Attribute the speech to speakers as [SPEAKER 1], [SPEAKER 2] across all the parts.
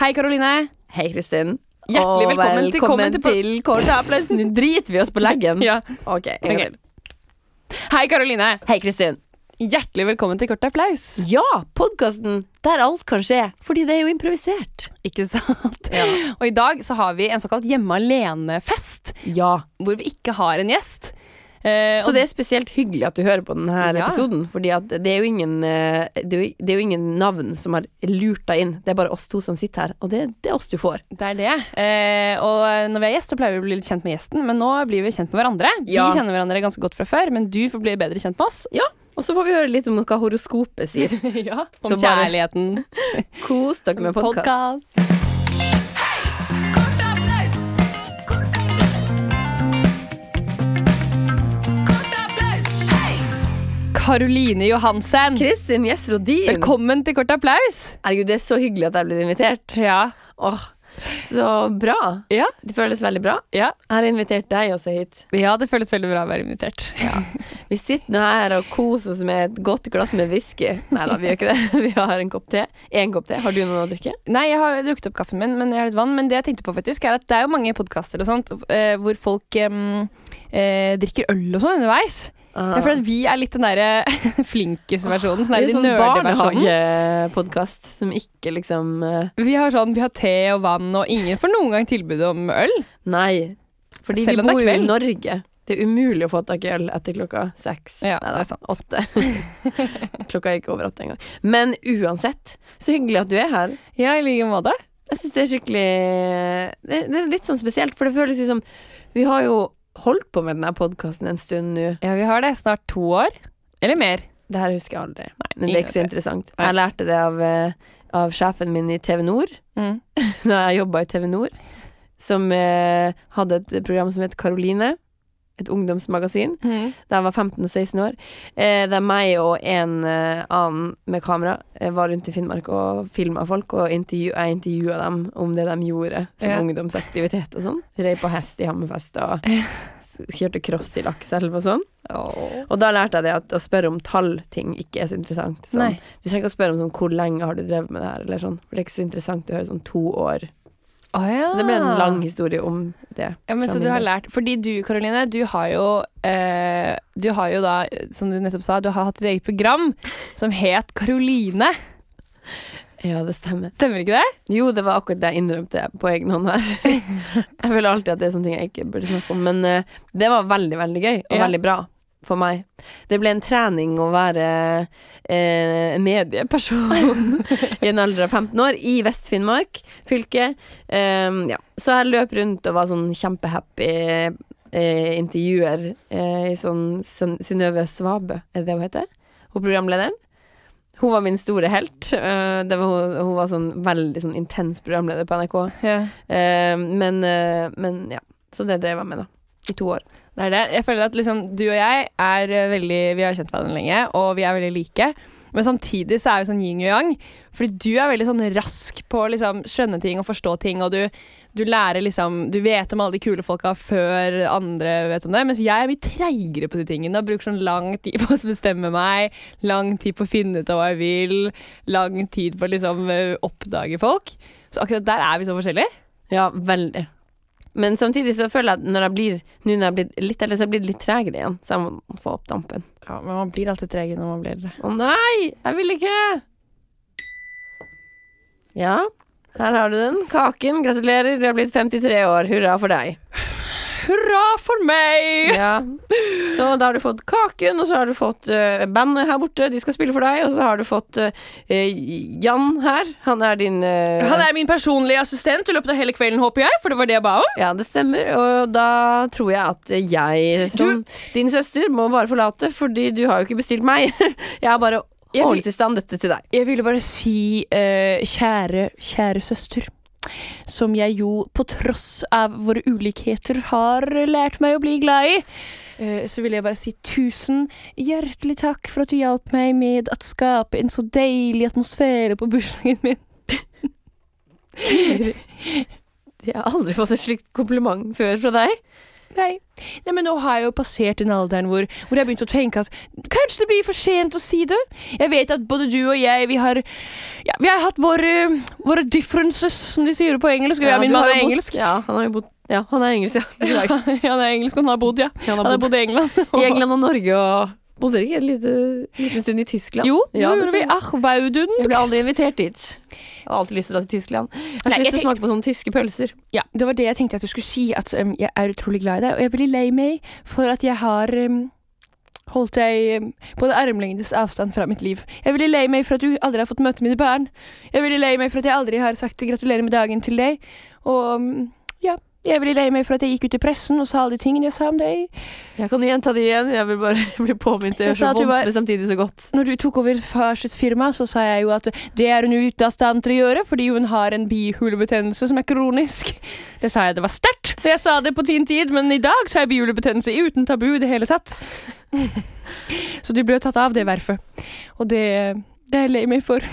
[SPEAKER 1] Hei, Karoline.
[SPEAKER 2] Hei, Kristin.
[SPEAKER 1] Hjertelig
[SPEAKER 2] Og
[SPEAKER 1] velkommen til-
[SPEAKER 2] velkommen
[SPEAKER 1] kommen til-
[SPEAKER 2] til Kårstø-applausen. Nå driter vi oss på leggen.
[SPEAKER 1] Ja.
[SPEAKER 2] Ok, en gang
[SPEAKER 1] Ok.
[SPEAKER 2] til.
[SPEAKER 1] Hei, Karoline.
[SPEAKER 2] Hei, Kristin.
[SPEAKER 1] Hjertelig velkommen til Kort applaus.
[SPEAKER 2] Ja, podkasten der alt kan skje, fordi det er jo improvisert.
[SPEAKER 1] Ikke sant? Og i dag så har vi en såkalt hjemme alene-fest,
[SPEAKER 2] Ja.
[SPEAKER 1] hvor vi ikke har en gjest. Eh,
[SPEAKER 2] Så det er spesielt hyggelig at du hører på denne
[SPEAKER 1] Ja.
[SPEAKER 2] episoden, fordi at det er jo ingen eh, det er jo, det er jo ingen navn som har lurt deg inn. Det er bare oss to som sitter her, og det, det er oss du får.
[SPEAKER 1] Det er det. Eh, og når vi er gjest, så pleier vi å bli litt kjent med gjesten, men nå blir vi kjent med hverandre.
[SPEAKER 2] Ja.
[SPEAKER 1] Vi kjenner hverandre ganske godt fra før, men du får bli bedre kjent med oss.
[SPEAKER 2] Ja, og så får vi høre litt om hva horoskopet sier.
[SPEAKER 1] ja, om
[SPEAKER 2] Så bare-
[SPEAKER 1] kjærligheten.
[SPEAKER 2] Kos dere med podkast.
[SPEAKER 1] Podcast. Karoline Johansen,
[SPEAKER 2] Kristin Gjess Rodin.
[SPEAKER 1] velkommen til Kort applaus.
[SPEAKER 2] Herregud, det er så hyggelig at jeg ble invitert.
[SPEAKER 1] Ja.
[SPEAKER 2] Åh, så bra.
[SPEAKER 1] Ja,
[SPEAKER 2] Det føles veldig bra.
[SPEAKER 1] ja.
[SPEAKER 2] Jeg har invitert deg også hit.
[SPEAKER 1] ja, det føles veldig bra å være invitert.
[SPEAKER 2] Vi sitter nå her og koser oss med et godt glass med whisky. Nei da, vi gjør ikke det. Vi har en kopp te. En kopp te. Har du noe å drikke?
[SPEAKER 1] Nei, jeg har drukket opp kaffen min, men jeg har litt vann. Men det jeg tenkte på faktisk, er at det er jo mange podkaster og sånt eh, hvor folk em, eh, drikker øl og sånn underveis. Jeg føler at vi er litt den derre flinkisversjonen. Sånn
[SPEAKER 2] det
[SPEAKER 1] der
[SPEAKER 2] er
[SPEAKER 1] de
[SPEAKER 2] sånn
[SPEAKER 1] nerdeversjonen.
[SPEAKER 2] barnehagepodkast som ikke liksom eh,
[SPEAKER 1] Vi har sånn, vi har te og vann, og ingen får noen gang tilbud om øl.
[SPEAKER 2] Nei. Fordi
[SPEAKER 1] Selv
[SPEAKER 2] vi
[SPEAKER 1] om det er
[SPEAKER 2] bor jo i
[SPEAKER 1] kveld.
[SPEAKER 2] Norge. Det er umulig å få tak i øl etter klokka seks.
[SPEAKER 1] Ja,
[SPEAKER 2] Neida,
[SPEAKER 1] det er sant.
[SPEAKER 2] Åtte. klokka gikk over åtte en gang. Men uansett, så hyggelig at du er her.
[SPEAKER 1] Ja, i like måte.
[SPEAKER 2] Jeg syns det er skikkelig det, det er litt sånn spesielt, for det føles jo som Vi har jo holdt på med denne podkasten en stund nå.
[SPEAKER 1] Ja, vi har det. Snart to år. Eller mer.
[SPEAKER 2] Det her husker jeg aldri, men det er ikke så
[SPEAKER 1] ingen
[SPEAKER 2] interessant.
[SPEAKER 1] Nei.
[SPEAKER 2] Jeg lærte det av, eh, av sjefen min i TV Nord,
[SPEAKER 1] Mm.
[SPEAKER 2] da jeg jobba i TV Nord, som eh, hadde et program som het Karoline. Et ungdomsmagasin
[SPEAKER 1] Mm.
[SPEAKER 2] da jeg var 15 og 16 år. Eh, der meg og en eh, annen med kamera eh, var rundt i Finnmark og filma folk, og intervju jeg intervjua dem om det de gjorde som
[SPEAKER 1] Ja.
[SPEAKER 2] ungdomsaktivitet og sånn. Rei på hest i Hammerfest og s- kjørte cross i Lakselv og sånn.
[SPEAKER 1] Åh.
[SPEAKER 2] Og da lærte jeg det at å spørre om tallting ikke er så interessant. Sånn.
[SPEAKER 1] Nei.
[SPEAKER 2] Du trenger ikke å spørre om sånn, hvor lenge har du drevet med det her, eller sånn. For det er ikke så interessant å høre sånn to år.
[SPEAKER 1] Å, ja.
[SPEAKER 2] Så det ble en lang historie om det.
[SPEAKER 1] Ja, men
[SPEAKER 2] fra
[SPEAKER 1] så
[SPEAKER 2] min
[SPEAKER 1] du har
[SPEAKER 2] del.
[SPEAKER 1] lært Fordi du, Karoline, du har jo eh, Du har jo da, som du nettopp sa, du har hatt et eget program som het Karoline.
[SPEAKER 2] Ja, det stemmer.
[SPEAKER 1] Stemmer ikke det?
[SPEAKER 2] Jo, det var akkurat det jeg innrømte på egen hånd her. jeg føler alltid at det er sånne ting jeg ikke burde snakke om, men eh, det var veldig, veldig gøy, og
[SPEAKER 1] Ja.
[SPEAKER 2] veldig bra for meg. Det ble en trening å være eh, medieperson i en alder av 15 år i Vest-Finnmark fylke. Ehm, ja. Så jeg løp rundt og var sånn kjempehappy eh, intervjuer eh, i sånn Syn- Synnøve Svabø, er det det hun heter? Hun programlederen. Hun var min store helt. Eh, det var, hun, hun var sånn veldig sånn intens programleder på NRK.
[SPEAKER 1] Ja.
[SPEAKER 2] Eh, men, eh, men ja. Så det drev jeg med, da. I to år.
[SPEAKER 1] Det er det. Jeg føler at liksom, du og jeg er eh, veldig Vi har jo kjent hverandre lenge, og vi er veldig like. Men samtidig så er vi sånn yin og yang. Fordi du er veldig sånn rask på å liksom, skjønne ting og forstå ting, og du, du lærer liksom Du vet om alle de kule folka før andre vet om det, mens jeg er mye treigere på de tingene og bruker sånn lang tid på å bestemme meg, lang tid på å finne ut av hva jeg vil, lang tid på å liksom eh, oppdage folk. Så akkurat der er vi så forskjellige.
[SPEAKER 2] Ja, veldig. Men samtidig så føler jeg at når jeg blir Nå når jeg blir litt eldre, så har jeg blitt litt tregere igjen. Så jeg må få opp dampen.
[SPEAKER 1] Ja, men man blir alltid tregere når man blir eldre.
[SPEAKER 2] Å nei, jeg vil ikke! Ja, her har du den. Kaken, gratulerer, du har blitt 53 år. Hurra for deg.
[SPEAKER 1] Hurra for meg!
[SPEAKER 2] Ja. Så da har du fått Kaken, og så har du fått eh, bandet her borte, de skal spille for deg, og så har du fått eh, eh, Jan her. Han er din eh,
[SPEAKER 1] Han er min personlige assistent i løpet av hele kvelden, håper jeg, for det var det jeg ba om.
[SPEAKER 2] Ja, det stemmer, og da tror jeg at jeg som din søster må bare forlate, fordi du har jo ikke bestilt meg. Jeg har bare
[SPEAKER 1] Jeg vil-
[SPEAKER 2] ordnet i stand dette til deg.
[SPEAKER 1] Jeg ville bare si, eh, kjære, kjære søster, som jeg jo på tross av våre ulikheter har lært meg å bli glad i, eh, så vil jeg bare si tusen hjertelig takk for at du hjalp meg med å skape en så deilig atmosfære på bursdagen min.
[SPEAKER 2] Jeg har aldri fått et slikt kompliment før fra deg.
[SPEAKER 1] Nei. Nei, men nå har jeg jo passert den alderen hvor, hvor jeg begynte å tenke at kanskje det blir for sent å si det. Jeg vet at både du og jeg, vi har, ja, vi har hatt våre, våre differences, som de sier på engelsk. Og jeg og min
[SPEAKER 2] du har
[SPEAKER 1] mann
[SPEAKER 2] jo
[SPEAKER 1] er
[SPEAKER 2] bodd-
[SPEAKER 1] engelsk.
[SPEAKER 2] Ja, han har jo bodd Ja, han er engelsk, ja. I dag.
[SPEAKER 1] Ja, han er engelsk, og han har bodd, ja.
[SPEAKER 2] Han
[SPEAKER 1] Han
[SPEAKER 2] har
[SPEAKER 1] har
[SPEAKER 2] bodd
[SPEAKER 1] bodd i England.
[SPEAKER 2] i England og Norge og Bodde dere ikke en lite- liten stund i Tyskland?
[SPEAKER 1] Jo, det
[SPEAKER 2] Ja, det
[SPEAKER 1] gjorde vi. Ah,
[SPEAKER 2] stemmer.
[SPEAKER 1] Ach, Waudund.
[SPEAKER 2] Jeg ble aldri invitert dit. Jeg hadde alltid lyst til å dra til Tyskland. Jeg har
[SPEAKER 1] Nei,
[SPEAKER 2] så lyst
[SPEAKER 1] jeg
[SPEAKER 2] til å smake på sånne tyske pølser.
[SPEAKER 1] Ja, det var det jeg tenkte at du skulle si, at um, jeg er utrolig glad i deg, og jeg blir lei meg for at jeg har um, holdt deg um, på en armlengdes avstand fra mitt liv. Jeg blir lei meg for at du aldri har fått møte mine barn. Jeg blir lei meg for at jeg aldri har sagt gratulerer med dagen til deg. Og um, ja, jeg blir lei meg for at jeg gikk ut i pressen og sa alle de tingene jeg sa om deg.
[SPEAKER 2] Jeg kan jo gjenta det igjen, jeg vil bare bli påminnet. Det
[SPEAKER 1] Jeg
[SPEAKER 2] gjør
[SPEAKER 1] sa
[SPEAKER 2] så
[SPEAKER 1] at du
[SPEAKER 2] vondt,
[SPEAKER 1] var-
[SPEAKER 2] men samtidig så godt.
[SPEAKER 1] Når du tok over far sitt firma, så sa jeg jo at det er hun ute av stand til å gjøre, fordi hun har en bihulebetennelse som er kronisk. Det sa jeg det var sterkt, da jeg sa det på sin tid, men i dag så er bihulebetennelse uten tabu i det hele tatt. Så du ble tatt av det verfet. Og det, det er jeg lei meg for.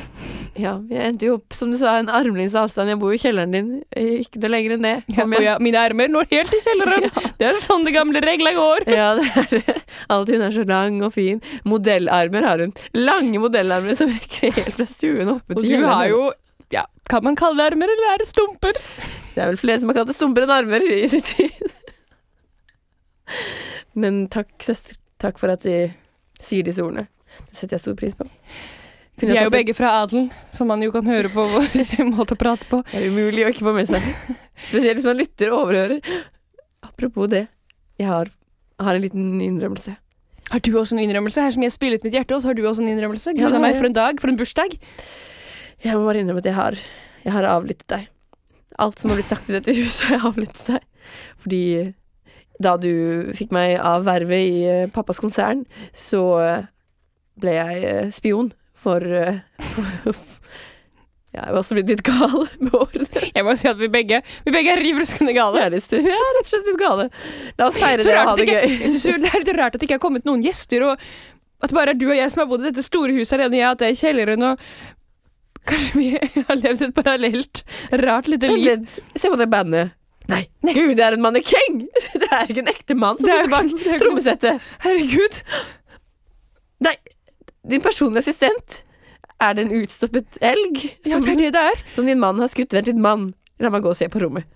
[SPEAKER 2] Ja, jeg endte jo opp, som du sa, en armlengdes avstand. Jeg bor jo i kjelleren din, Eh, ikke noe lenger enn det. Kom
[SPEAKER 1] Og
[SPEAKER 2] igjen.
[SPEAKER 1] ja, mine armer når helt i kjelleren. Det er sånn de gamle reglene går.
[SPEAKER 2] Ja, det er det. Alt hun er så lang og fin. Modellarmer har hun. Lange modellarmer som rekker helt fra stuen oppe
[SPEAKER 1] Og
[SPEAKER 2] til
[SPEAKER 1] du
[SPEAKER 2] kjelleren.
[SPEAKER 1] har jo ja, Kan man kalle det armer, eller er det stumper?
[SPEAKER 2] Det er vel flere som har kalt det stumper enn armer i sin tid. Men takk, søster. Takk for at du sier disse ordene. Det setter jeg stor pris på.
[SPEAKER 1] Vi
[SPEAKER 2] Kunne
[SPEAKER 1] er
[SPEAKER 2] jeg
[SPEAKER 1] jo
[SPEAKER 2] tatt det-
[SPEAKER 1] begge fra adelen, som man jo kan høre på vår måte å prate på.
[SPEAKER 2] Det er umulig å ikke få med seg. Spesielt hvis man lytter og overhører. Apropos det, jeg har, har en liten innrømmelse.
[SPEAKER 1] Har du også en innrømmelse? Her som jeg spillet mitt hjerte, og så har du også en innrømmelse?
[SPEAKER 2] Ja, det
[SPEAKER 1] Gruda
[SPEAKER 2] har
[SPEAKER 1] meg
[SPEAKER 2] jeg.
[SPEAKER 1] for en dag, for en bursdag.
[SPEAKER 2] Jeg må bare innrømme at jeg har, jeg har avlyttet deg. Alt som har blitt sagt i dette huset, har jeg avlyttet deg. Fordi da du fikk meg av vervet i eh, pappas konsern, så eh, ble jeg eh, spion for, eh, for Ja, jeg var også blitt litt gal med årene.
[SPEAKER 1] Jeg må si at vi begge, vi begge er riv ruskende
[SPEAKER 2] Jeg
[SPEAKER 1] gale.
[SPEAKER 2] er litt stu- jeg er rett og slett litt gale. La oss feire
[SPEAKER 1] Så
[SPEAKER 2] det og
[SPEAKER 1] rart
[SPEAKER 2] ha
[SPEAKER 1] at
[SPEAKER 2] det
[SPEAKER 1] ikke,
[SPEAKER 2] gøy.
[SPEAKER 1] jeg synes jo det er litt rart at det ikke har kommet noen gjester, og at det bare er du og jeg som har bodd i dette store huset alene, og jeg at det er i kjelleren, og kanskje vi har levd et parallelt rart lite liv.
[SPEAKER 2] Vent litt. Se på det bandet. Nei, gud, det er en mannekeng! Det er ikke en ekte mann som
[SPEAKER 1] Det er
[SPEAKER 2] sitter
[SPEAKER 1] jo-
[SPEAKER 2] bak
[SPEAKER 1] det er jo-
[SPEAKER 2] trommesettet.
[SPEAKER 1] Herregud.
[SPEAKER 2] Nei, din personlige assistent. Er det en utstoppet elg
[SPEAKER 1] Ja, det er det det er.
[SPEAKER 2] som din mann har skutt? Vent litt, mann. La meg gå og se på rommet.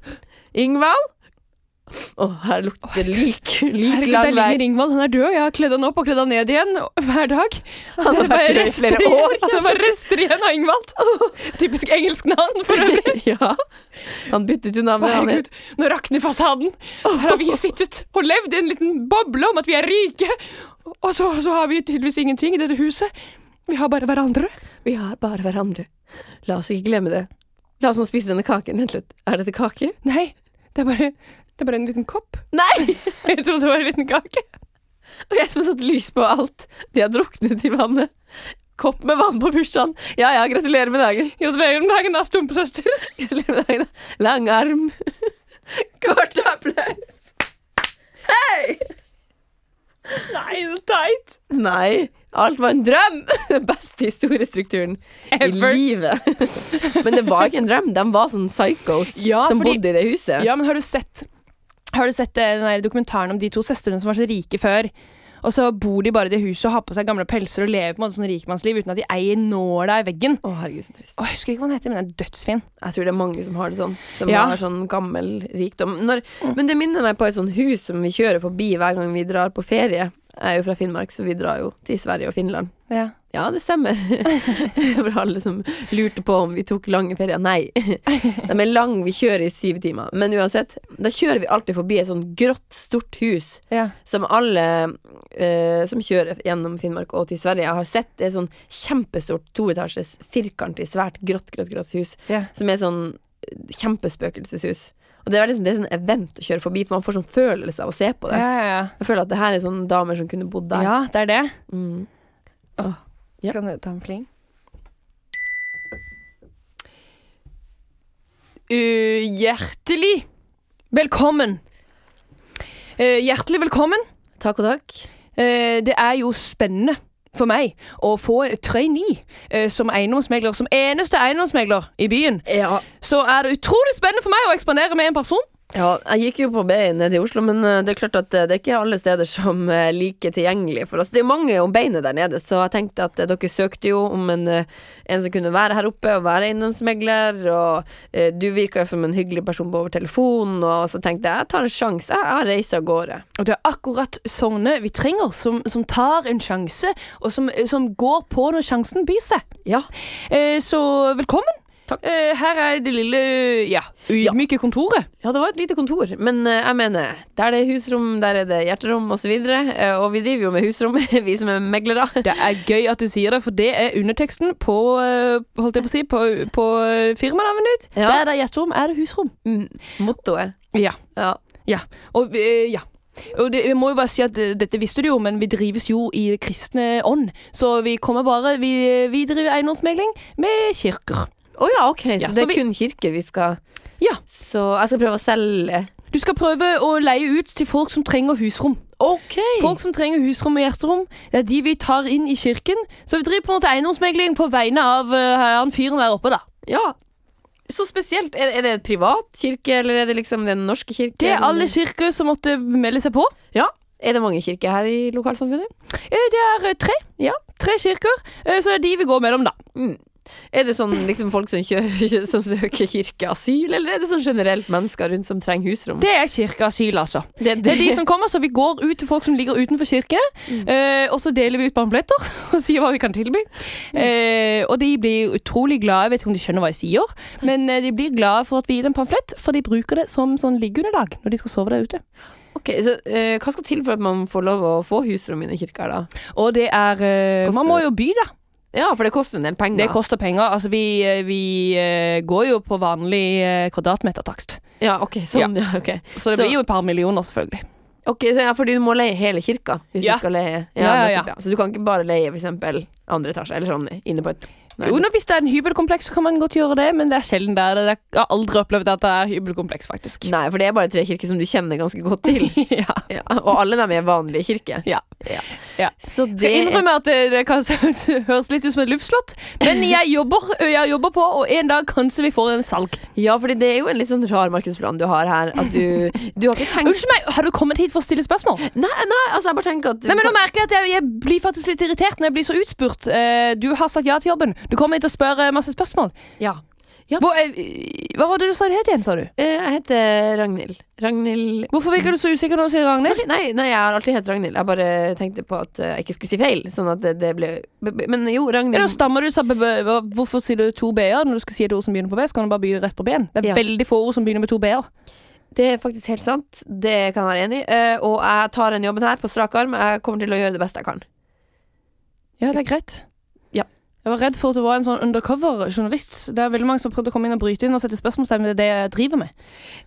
[SPEAKER 2] Ingvald? Å, her lukter det lik. Lik
[SPEAKER 1] Herregud,
[SPEAKER 2] lang
[SPEAKER 1] der
[SPEAKER 2] vei.
[SPEAKER 1] ligger Ringvald, han er død, og jeg har kledd han opp og kledd han ned igjen og- hver dag. Altså,
[SPEAKER 2] Han har
[SPEAKER 1] det er bare
[SPEAKER 2] vært død i
[SPEAKER 1] rester
[SPEAKER 2] flere
[SPEAKER 1] igjen-
[SPEAKER 2] år, altså.
[SPEAKER 1] Det er bare rester igjen av Ingvald. Typisk engelsk navn for øvrig.
[SPEAKER 2] Ja. Han byttet jo navn. Han
[SPEAKER 1] Herregud, nå rakner fasaden. Her har vi sittet og levd i en liten boble om at vi er rike, og så, så har vi tydeligvis ingenting i dette huset. Vi har bare hverandre.
[SPEAKER 2] Vi har bare hverandre. La oss ikke glemme det. La oss nå spise denne kaken. Vent litt. Er dette kake?
[SPEAKER 1] Nei, det er bare, det er bare en liten kopp.
[SPEAKER 2] Nei!
[SPEAKER 1] Jeg trodde det var en liten kake.
[SPEAKER 2] Og jeg som har satt lys på alt. De har druknet i vannet. Kopp med vann på bursdagen. Ja ja, gratulerer med dagen.
[SPEAKER 1] Gratulerer med dagen, da, stumpesøster.
[SPEAKER 2] Gratulerer med dagen. Lang arm. Kort applaus. Hei!
[SPEAKER 1] Nei, så teit.
[SPEAKER 2] Nei, alt var en drøm! Den beste historiestrukturen
[SPEAKER 1] Ever.
[SPEAKER 2] i livet. Men det var ikke en drøm. De var sånne psychos
[SPEAKER 1] Ja,
[SPEAKER 2] som
[SPEAKER 1] fordi-
[SPEAKER 2] bodde i det huset.
[SPEAKER 1] Ja, men har du sett Har du sett eh, den der dokumentaren om de to søstrene som var så rike før? Og så bor de bare i det huset og har på seg gamle pelser og lever på en måte sånn rikmannsliv uten at de eier nåla i veggen.
[SPEAKER 2] Å, herregud, så trist.
[SPEAKER 1] Å, jeg husker ikke hva den heter, men den er dødsfin.
[SPEAKER 2] Jeg tror det er mange som har det sånn. Som
[SPEAKER 1] Ja.
[SPEAKER 2] har sånn gammel rikdom. Når, men det minner meg på et sånt hus som vi kjører forbi hver gang vi drar på ferie. Jeg er jo fra Finnmark, så vi drar jo til Sverige og Finland.
[SPEAKER 1] Ja.
[SPEAKER 2] Ja, det stemmer. For alle som lurte på om vi tok lange ferier. Nei. De er lang, vi kjører i syv timer. Men uansett, da kjører vi alltid forbi et sånt grått, stort hus
[SPEAKER 1] ja.
[SPEAKER 2] som alle eh, som kjører gjennom Finnmark og til Sverige, har sett. Det er sånn kjempestort toetasjes, firkantig, svært grått, grått, grått hus
[SPEAKER 1] Ja.
[SPEAKER 2] som er sånn kjempespøkelseshus. Og det er, liksom, det er sånn event å kjøre forbi, for man får sånn følelse av å se på det.
[SPEAKER 1] Ja, ja, ja.
[SPEAKER 2] Jeg føler at det her er sånne damer som kunne bodd der.
[SPEAKER 1] ja, det er det.
[SPEAKER 2] Mm. Ja.
[SPEAKER 1] Kan du ta en pling? Uh, hjertelig velkommen. Uh, hjertelig velkommen.
[SPEAKER 2] Takk og takk.
[SPEAKER 1] Eh, det er jo spennende for meg å få trainee eh, som eiendomsmegler, som eneste eiendomsmegler i byen.
[SPEAKER 2] Ja.
[SPEAKER 1] Så er det utrolig spennende for meg å ekspandere med en person
[SPEAKER 2] Ja, jeg gikk jo på BI nede i Oslo, men eh, det er klart at eh, det er ikke alle steder som eh, er like tilgjengelig for oss. Det er jo mange om beinet der nede, så jeg tenkte at eh, dere søkte jo om en, eh, en som kunne være her oppe og være eiendomsmegler, og eh, du virka som en hyggelig person på over telefonen, og så tenkte jeg jeg tar en sjanse, jeg, jeg reiser av gårde.
[SPEAKER 1] Og det er akkurat sånne vi trenger, som, som tar en sjanse, og som, som går på når sjansen byr seg.
[SPEAKER 2] Ja.
[SPEAKER 1] Eh, så velkommen.
[SPEAKER 2] Takk.
[SPEAKER 1] Eh, her er det lille ja, ydmyke kontoret.
[SPEAKER 2] Ja, det var et lite kontor, men eh, jeg mener, der det er husrom, der er det hjerterom osv. Uh, og vi driver jo med husrom, vi som er meglere.
[SPEAKER 1] Det er gøy at du sier det, for det er underteksten på, eh, holdt jeg på å si, på, på eh, firmanavnet ditt.
[SPEAKER 2] Ja.
[SPEAKER 1] Der det er hjerterom, er det husrom.
[SPEAKER 2] Mm, Mottoet.
[SPEAKER 1] Ja.
[SPEAKER 2] Ja.
[SPEAKER 1] Ja. Og, vi- eh, ja. og det, jeg må jo bare si at eh, dette visste du jo, men vi drives jo i det kristne ånd. Så vi kommer bare Vi, eh, vi driver eiendomsmegling med kirker.
[SPEAKER 2] Å ja, ok, så
[SPEAKER 1] Ja, så
[SPEAKER 2] det er
[SPEAKER 1] vi-
[SPEAKER 2] kun kirker vi skal
[SPEAKER 1] Ja.
[SPEAKER 2] Så jeg skal prøve å selge
[SPEAKER 1] Du skal prøve å leie ut til folk som trenger husrom.
[SPEAKER 2] Ok!
[SPEAKER 1] Folk som trenger husrom og hjerterom, det er de vi tar inn i kirken. Så vi driver på en måte eiendomsmegling på vegne av eh, han fyren der oppe, da.
[SPEAKER 2] Ja. Så spesielt. Er, er det et privat kirke, eller er det liksom den norske kirke?
[SPEAKER 1] Det er
[SPEAKER 2] eller-
[SPEAKER 1] alle kirker som måtte melde seg på.
[SPEAKER 2] Ja. Er det mange kirker her i lokalsamfunnet?
[SPEAKER 1] Eh, Det er eh, tre.
[SPEAKER 2] Ja.
[SPEAKER 1] Tre kirker. eh, Så det er de vi går mellom, da.
[SPEAKER 2] Er det sånn liksom folk som, kjører, som søker kirkeasyl, eller er det sånn generelt mennesker rundt som trenger husrom?
[SPEAKER 1] Det er kirkeasyl, altså.
[SPEAKER 2] Det-
[SPEAKER 1] Det
[SPEAKER 2] det-
[SPEAKER 1] er de som kommer, så vi går ut til folk som ligger utenfor kirkene.
[SPEAKER 2] Mm.
[SPEAKER 1] eh, og så deler vi ut pamfletter og sier hva vi kan tilby.
[SPEAKER 2] Mm.
[SPEAKER 1] Eh, og de blir utrolig glade. Jeg vet ikke om de skjønner hva jeg sier, men eh, de blir glade for at vi gir dem pamflett, for de bruker det som sånn liggeunderlag når de skal sove der ute.
[SPEAKER 2] Ok, så eh, Hva skal til for at man får lov å få husrom inne i kirka? her da?
[SPEAKER 1] Og det er eh,
[SPEAKER 2] Koster
[SPEAKER 1] Man må jo by, da.
[SPEAKER 2] Ja, for det koster en del penger.
[SPEAKER 1] Det koster penger. Altså, vi, eh, vi eh, går jo på vanlig eh, kvadratmetertakst.
[SPEAKER 2] ja, ok, sånn, ja. ok.
[SPEAKER 1] Så det
[SPEAKER 2] Så-
[SPEAKER 1] blir jo et par millioner, selvfølgelig.
[SPEAKER 2] Ok, så ja, Fordi du må leie hele kirka hvis
[SPEAKER 1] Ja.
[SPEAKER 2] du skal leie.
[SPEAKER 1] Ja, ja, ja.
[SPEAKER 2] nettopp, Så du kan ikke bare leie for eksempel andre etasje, eller sånn inne på et Nei.
[SPEAKER 1] Jo, nå, hvis det er en hybelkompleks, så kan man godt gjøre det, men det er sjelden det er det. Jeg har aldri opplevd at det er hybelkompleks, faktisk.
[SPEAKER 2] Nei, for det er bare tre kirker som du kjenner ganske godt til.
[SPEAKER 1] ja.
[SPEAKER 2] ja, og alle dem er vanlige kirker.
[SPEAKER 1] Ja. Ja.
[SPEAKER 2] Så det
[SPEAKER 1] Skal
[SPEAKER 2] er
[SPEAKER 1] innrømme at det, det kan se ut- høres litt ut som et luftslott, men jeg jobber, jeg jobber på, og en dag kanskje vi får en salg.
[SPEAKER 2] Ja, fordi det er jo en litt sånn rar markedsplan du har her. At du Du har ikke tenkt
[SPEAKER 1] Unnskyld meg, har du kommet hit for å stille spørsmål?
[SPEAKER 2] Nei, nei, altså, jeg bare tenker at
[SPEAKER 1] Nei, men nå merker jeg at jeg, jeg blir faktisk litt irritert når jeg blir så utspurt. Eh, du har sagt ja til jobben. Du kommer hit og spør eh, masse spørsmål.
[SPEAKER 2] Ja.
[SPEAKER 1] Hvor, eh, hva var det du sa det het igjen, sa du?
[SPEAKER 2] Eh, Jeg heter Ragnhild. Ragnhild
[SPEAKER 1] Hvorfor virker du så usikker når du sier Ragnhild?
[SPEAKER 2] Nei, nei, nei, jeg har alltid hett Ragnhild. Jeg bare tenkte på at eh, jeg ikke skulle si feil. Sånn at det, det ble b- b- Men jo,
[SPEAKER 1] Eller
[SPEAKER 2] Ragnhild
[SPEAKER 1] stammer du sa, b- b- hva- Hvorfor sier du to b-er når du skal si et ord som begynner på b? Så kan du bare begynne rett på b-en. Det er
[SPEAKER 2] Ja.
[SPEAKER 1] veldig få ord som begynner med to b-er.
[SPEAKER 2] Det er faktisk helt sant. Det kan jeg være enig i. Eh, Og jeg tar den jobben her på strak arm. Jeg kommer til å gjøre det beste jeg kan.
[SPEAKER 1] Ja, det er greit.
[SPEAKER 2] Ja.
[SPEAKER 1] Jeg var redd for at du var en sånn undercover-journalist. Det er veldig mange som har prøvd å komme inn og bryte inn og sette spørsmålstegn ved det jeg driver med.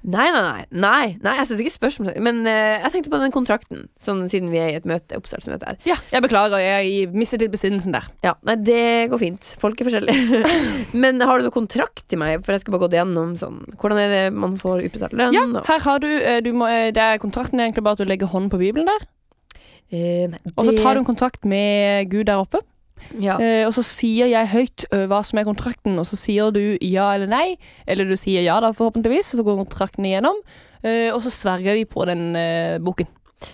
[SPEAKER 2] Nei, nei, nei. nei, nei jeg synes ikke spørsmål Men eh, jeg tenkte på den kontrakten, sånn siden vi er i et møte, oppstartsmøte her.
[SPEAKER 1] Ja, jeg beklager. Jeg mistet litt besinnelsen der.
[SPEAKER 2] Ja, nei, det går fint. Folk er forskjellige. Men har du noen kontrakt til meg? For jeg skal bare gå gjennom sånn Hvordan er det man får utbetalt lønn?
[SPEAKER 1] Ja,
[SPEAKER 2] og-
[SPEAKER 1] her har du, eh, du må, eh, det er Kontrakten er egentlig bare at du legger hånden på Bibelen der,
[SPEAKER 2] Eh, nei,
[SPEAKER 1] og så
[SPEAKER 2] det-
[SPEAKER 1] tar du en kontrakt med Gud der oppe.
[SPEAKER 2] ja.
[SPEAKER 1] Eh, og så sier jeg høyt eh, hva som er kontrakten, og så sier du ja eller nei. Eller du sier ja, da forhåpentligvis, og så går kontrakten igjennom. eh, og så sverger vi på den eh, boken.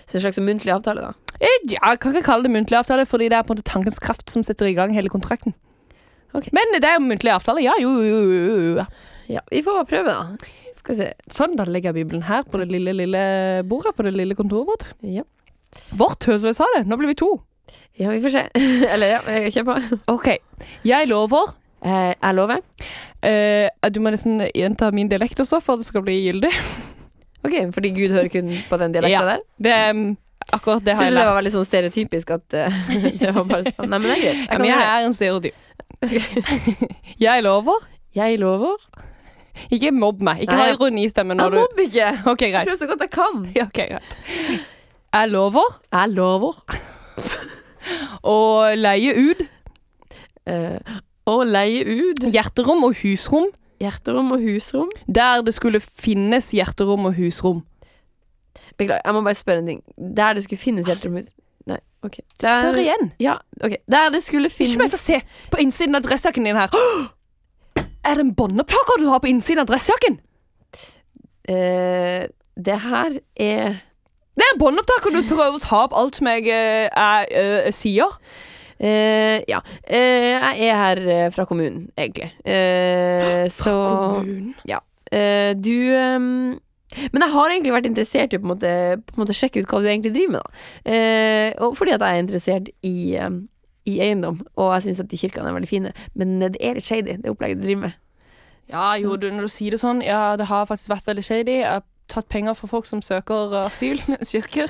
[SPEAKER 2] Så en slags muntlig avtale, da.
[SPEAKER 1] Eh, ja, jeg kan ikke kalle det muntlig avtale, fordi det er på en måte tankens kraft som setter i gang hele kontrakten.
[SPEAKER 2] Ok.
[SPEAKER 1] Men det er jo muntlig avtale. Ja, jo, jo, jo, jo, jo.
[SPEAKER 2] Ja, vi får prøve, da. Skal vi se.
[SPEAKER 1] Sånn, da legger jeg Bibelen her på det lille, lille bordet på det lille kontoret vårt.
[SPEAKER 2] Ja,
[SPEAKER 1] Vårt, hørte du jeg sa det? Nå blir vi to.
[SPEAKER 2] ja vi får se. Eller ja, jeg kjør på.
[SPEAKER 1] OK. Jeg lover
[SPEAKER 2] Eh, jeg lover.
[SPEAKER 1] eh, Du må nesten gjenta min dialekt også for at det skal bli gyldig.
[SPEAKER 2] Ok, fordi Gud hører kun på den dialekta
[SPEAKER 1] Ja,
[SPEAKER 2] der?
[SPEAKER 1] Det er mm, akkurat det har
[SPEAKER 2] Jeg
[SPEAKER 1] jeg
[SPEAKER 2] trodde det
[SPEAKER 1] lært.
[SPEAKER 2] var veldig sånn stereotypisk at eh, det var bare sånn. Nei, men det er greit. Jeg
[SPEAKER 1] Ja,
[SPEAKER 2] kan
[SPEAKER 1] men
[SPEAKER 2] gjøre det.
[SPEAKER 1] jeg er en stereotyp. jeg lover.
[SPEAKER 2] Jeg lover.
[SPEAKER 1] Ikke mobb meg. Ikke
[SPEAKER 2] Nei,
[SPEAKER 1] ha
[SPEAKER 2] jeg-
[SPEAKER 1] ironi i stemmen
[SPEAKER 2] Jeg
[SPEAKER 1] når du
[SPEAKER 2] mobber ikke!
[SPEAKER 1] OK,
[SPEAKER 2] Jeg
[SPEAKER 1] greit.
[SPEAKER 2] prøver så godt jeg kan.
[SPEAKER 1] Ja, ok, greit. Jeg lover
[SPEAKER 2] Jeg lover
[SPEAKER 1] å leie ut
[SPEAKER 2] eh, å leie ut
[SPEAKER 1] hjerterom og husrom
[SPEAKER 2] hjerterom og husrom.
[SPEAKER 1] der det skulle finnes hjerterom og husrom.
[SPEAKER 2] Beklager, jeg må bare spørre en ting. Der det skulle finnes hjerterom og hus- Nei, OK.
[SPEAKER 1] Hør
[SPEAKER 2] Der,
[SPEAKER 1] igjen.
[SPEAKER 2] ja, ok. Der det skulle
[SPEAKER 1] Ikke meg
[SPEAKER 2] finnes
[SPEAKER 1] få se på innsiden av dressjakken din her. Er det en båndeplager du har på innsiden av dressjakken?
[SPEAKER 2] eh, Det her er
[SPEAKER 1] Det er båndopptak, og du prøver å ta opp alt som jeg eh, er, eh, sier.
[SPEAKER 2] eh, Ja. Eh, jeg er her eh, fra kommunen, egentlig. Eh, så
[SPEAKER 1] Kommunen.
[SPEAKER 2] eh, du ehm, Men jeg har egentlig vært interessert i å på en måte, på en måte sjekke ut hva du egentlig driver med, da. Eh, og fordi at jeg er interessert i ehm, i eiendom, og jeg syns at de kirkene er veldig fine, men eh, det er litt shady, det opplegget du driver med.
[SPEAKER 1] Ja, jo, du, når du sier det sånn, ja, det har faktisk vært veldig shady. Jeg har tatt penger fra folk som søker eh, asyl, kirker,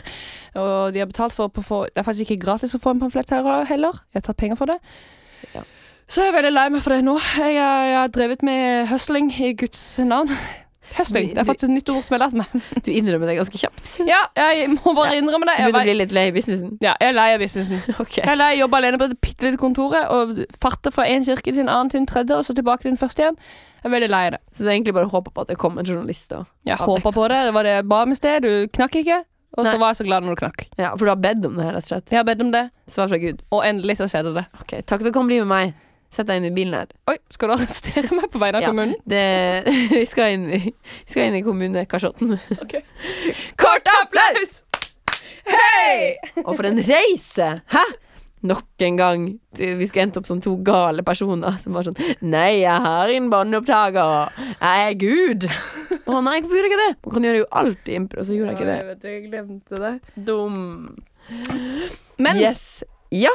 [SPEAKER 1] og de har betalt for å få Det er faktisk ikke gratis å få en pamflett her heller. Jeg har tatt penger for det.
[SPEAKER 2] Ja.
[SPEAKER 1] Så jeg er veldig lei meg for det nå. Jeg, har- jeg har drevet med høsling i Guds navn. Høsling.
[SPEAKER 2] Du-
[SPEAKER 1] Det er faktisk et nytt ord som jeg har lært meg.
[SPEAKER 2] Du innrømmer det ganske kjapt.
[SPEAKER 1] Ja, jeg må bare innrømme det. Jeg,
[SPEAKER 2] Begynner å
[SPEAKER 1] var,
[SPEAKER 2] bli litt lei i businessen.
[SPEAKER 1] ja, jeg er lei av businessen.
[SPEAKER 2] Ok.
[SPEAKER 1] Jeg er lei av å jobbe alene på dette bitte lille kontoret og farte fra én kirke til en annen til en tredje, og så tilbake til den første igjen. Jeg er veldig lei av det.
[SPEAKER 2] Så du har egentlig bare håpa på at det kom en journalist og
[SPEAKER 1] Jeg
[SPEAKER 2] Ja,
[SPEAKER 1] håpa på det. Det var det jeg ba om i sted. Du knakk ikke. Og så
[SPEAKER 2] Nei.
[SPEAKER 1] var jeg så glad når du knakk.
[SPEAKER 2] Ja, for du har bedt om det her, rett og slett.
[SPEAKER 1] Jeg har bedt om det,
[SPEAKER 2] Svar fra Gud.
[SPEAKER 1] og endelig så skjedde det.
[SPEAKER 2] Ok, takk, du kan bli med meg. Sett deg inn i bilen her.
[SPEAKER 1] Oi, skal du arrestere meg på vegne av
[SPEAKER 2] Ja.
[SPEAKER 1] kommunen?
[SPEAKER 2] Det, vi, skal inn i, vi skal inn i kommunekasjotten.
[SPEAKER 1] Ok.
[SPEAKER 2] Kort applaus! Hei! Og for en reise! Hæ? Nok en gang. Du, vi skulle endt opp som to gale personer som var sånn Nei, jeg har ingen båndopptaker. Jeg er Gud. Å nei, hvorfor gjorde jeg ikke det? Man kan gjøre jo alt i impro, så gjorde jeg ikke det.
[SPEAKER 1] vet jeg glemte det.
[SPEAKER 2] Eh, Dum.
[SPEAKER 1] Men Åh,
[SPEAKER 2] Yes. Ja,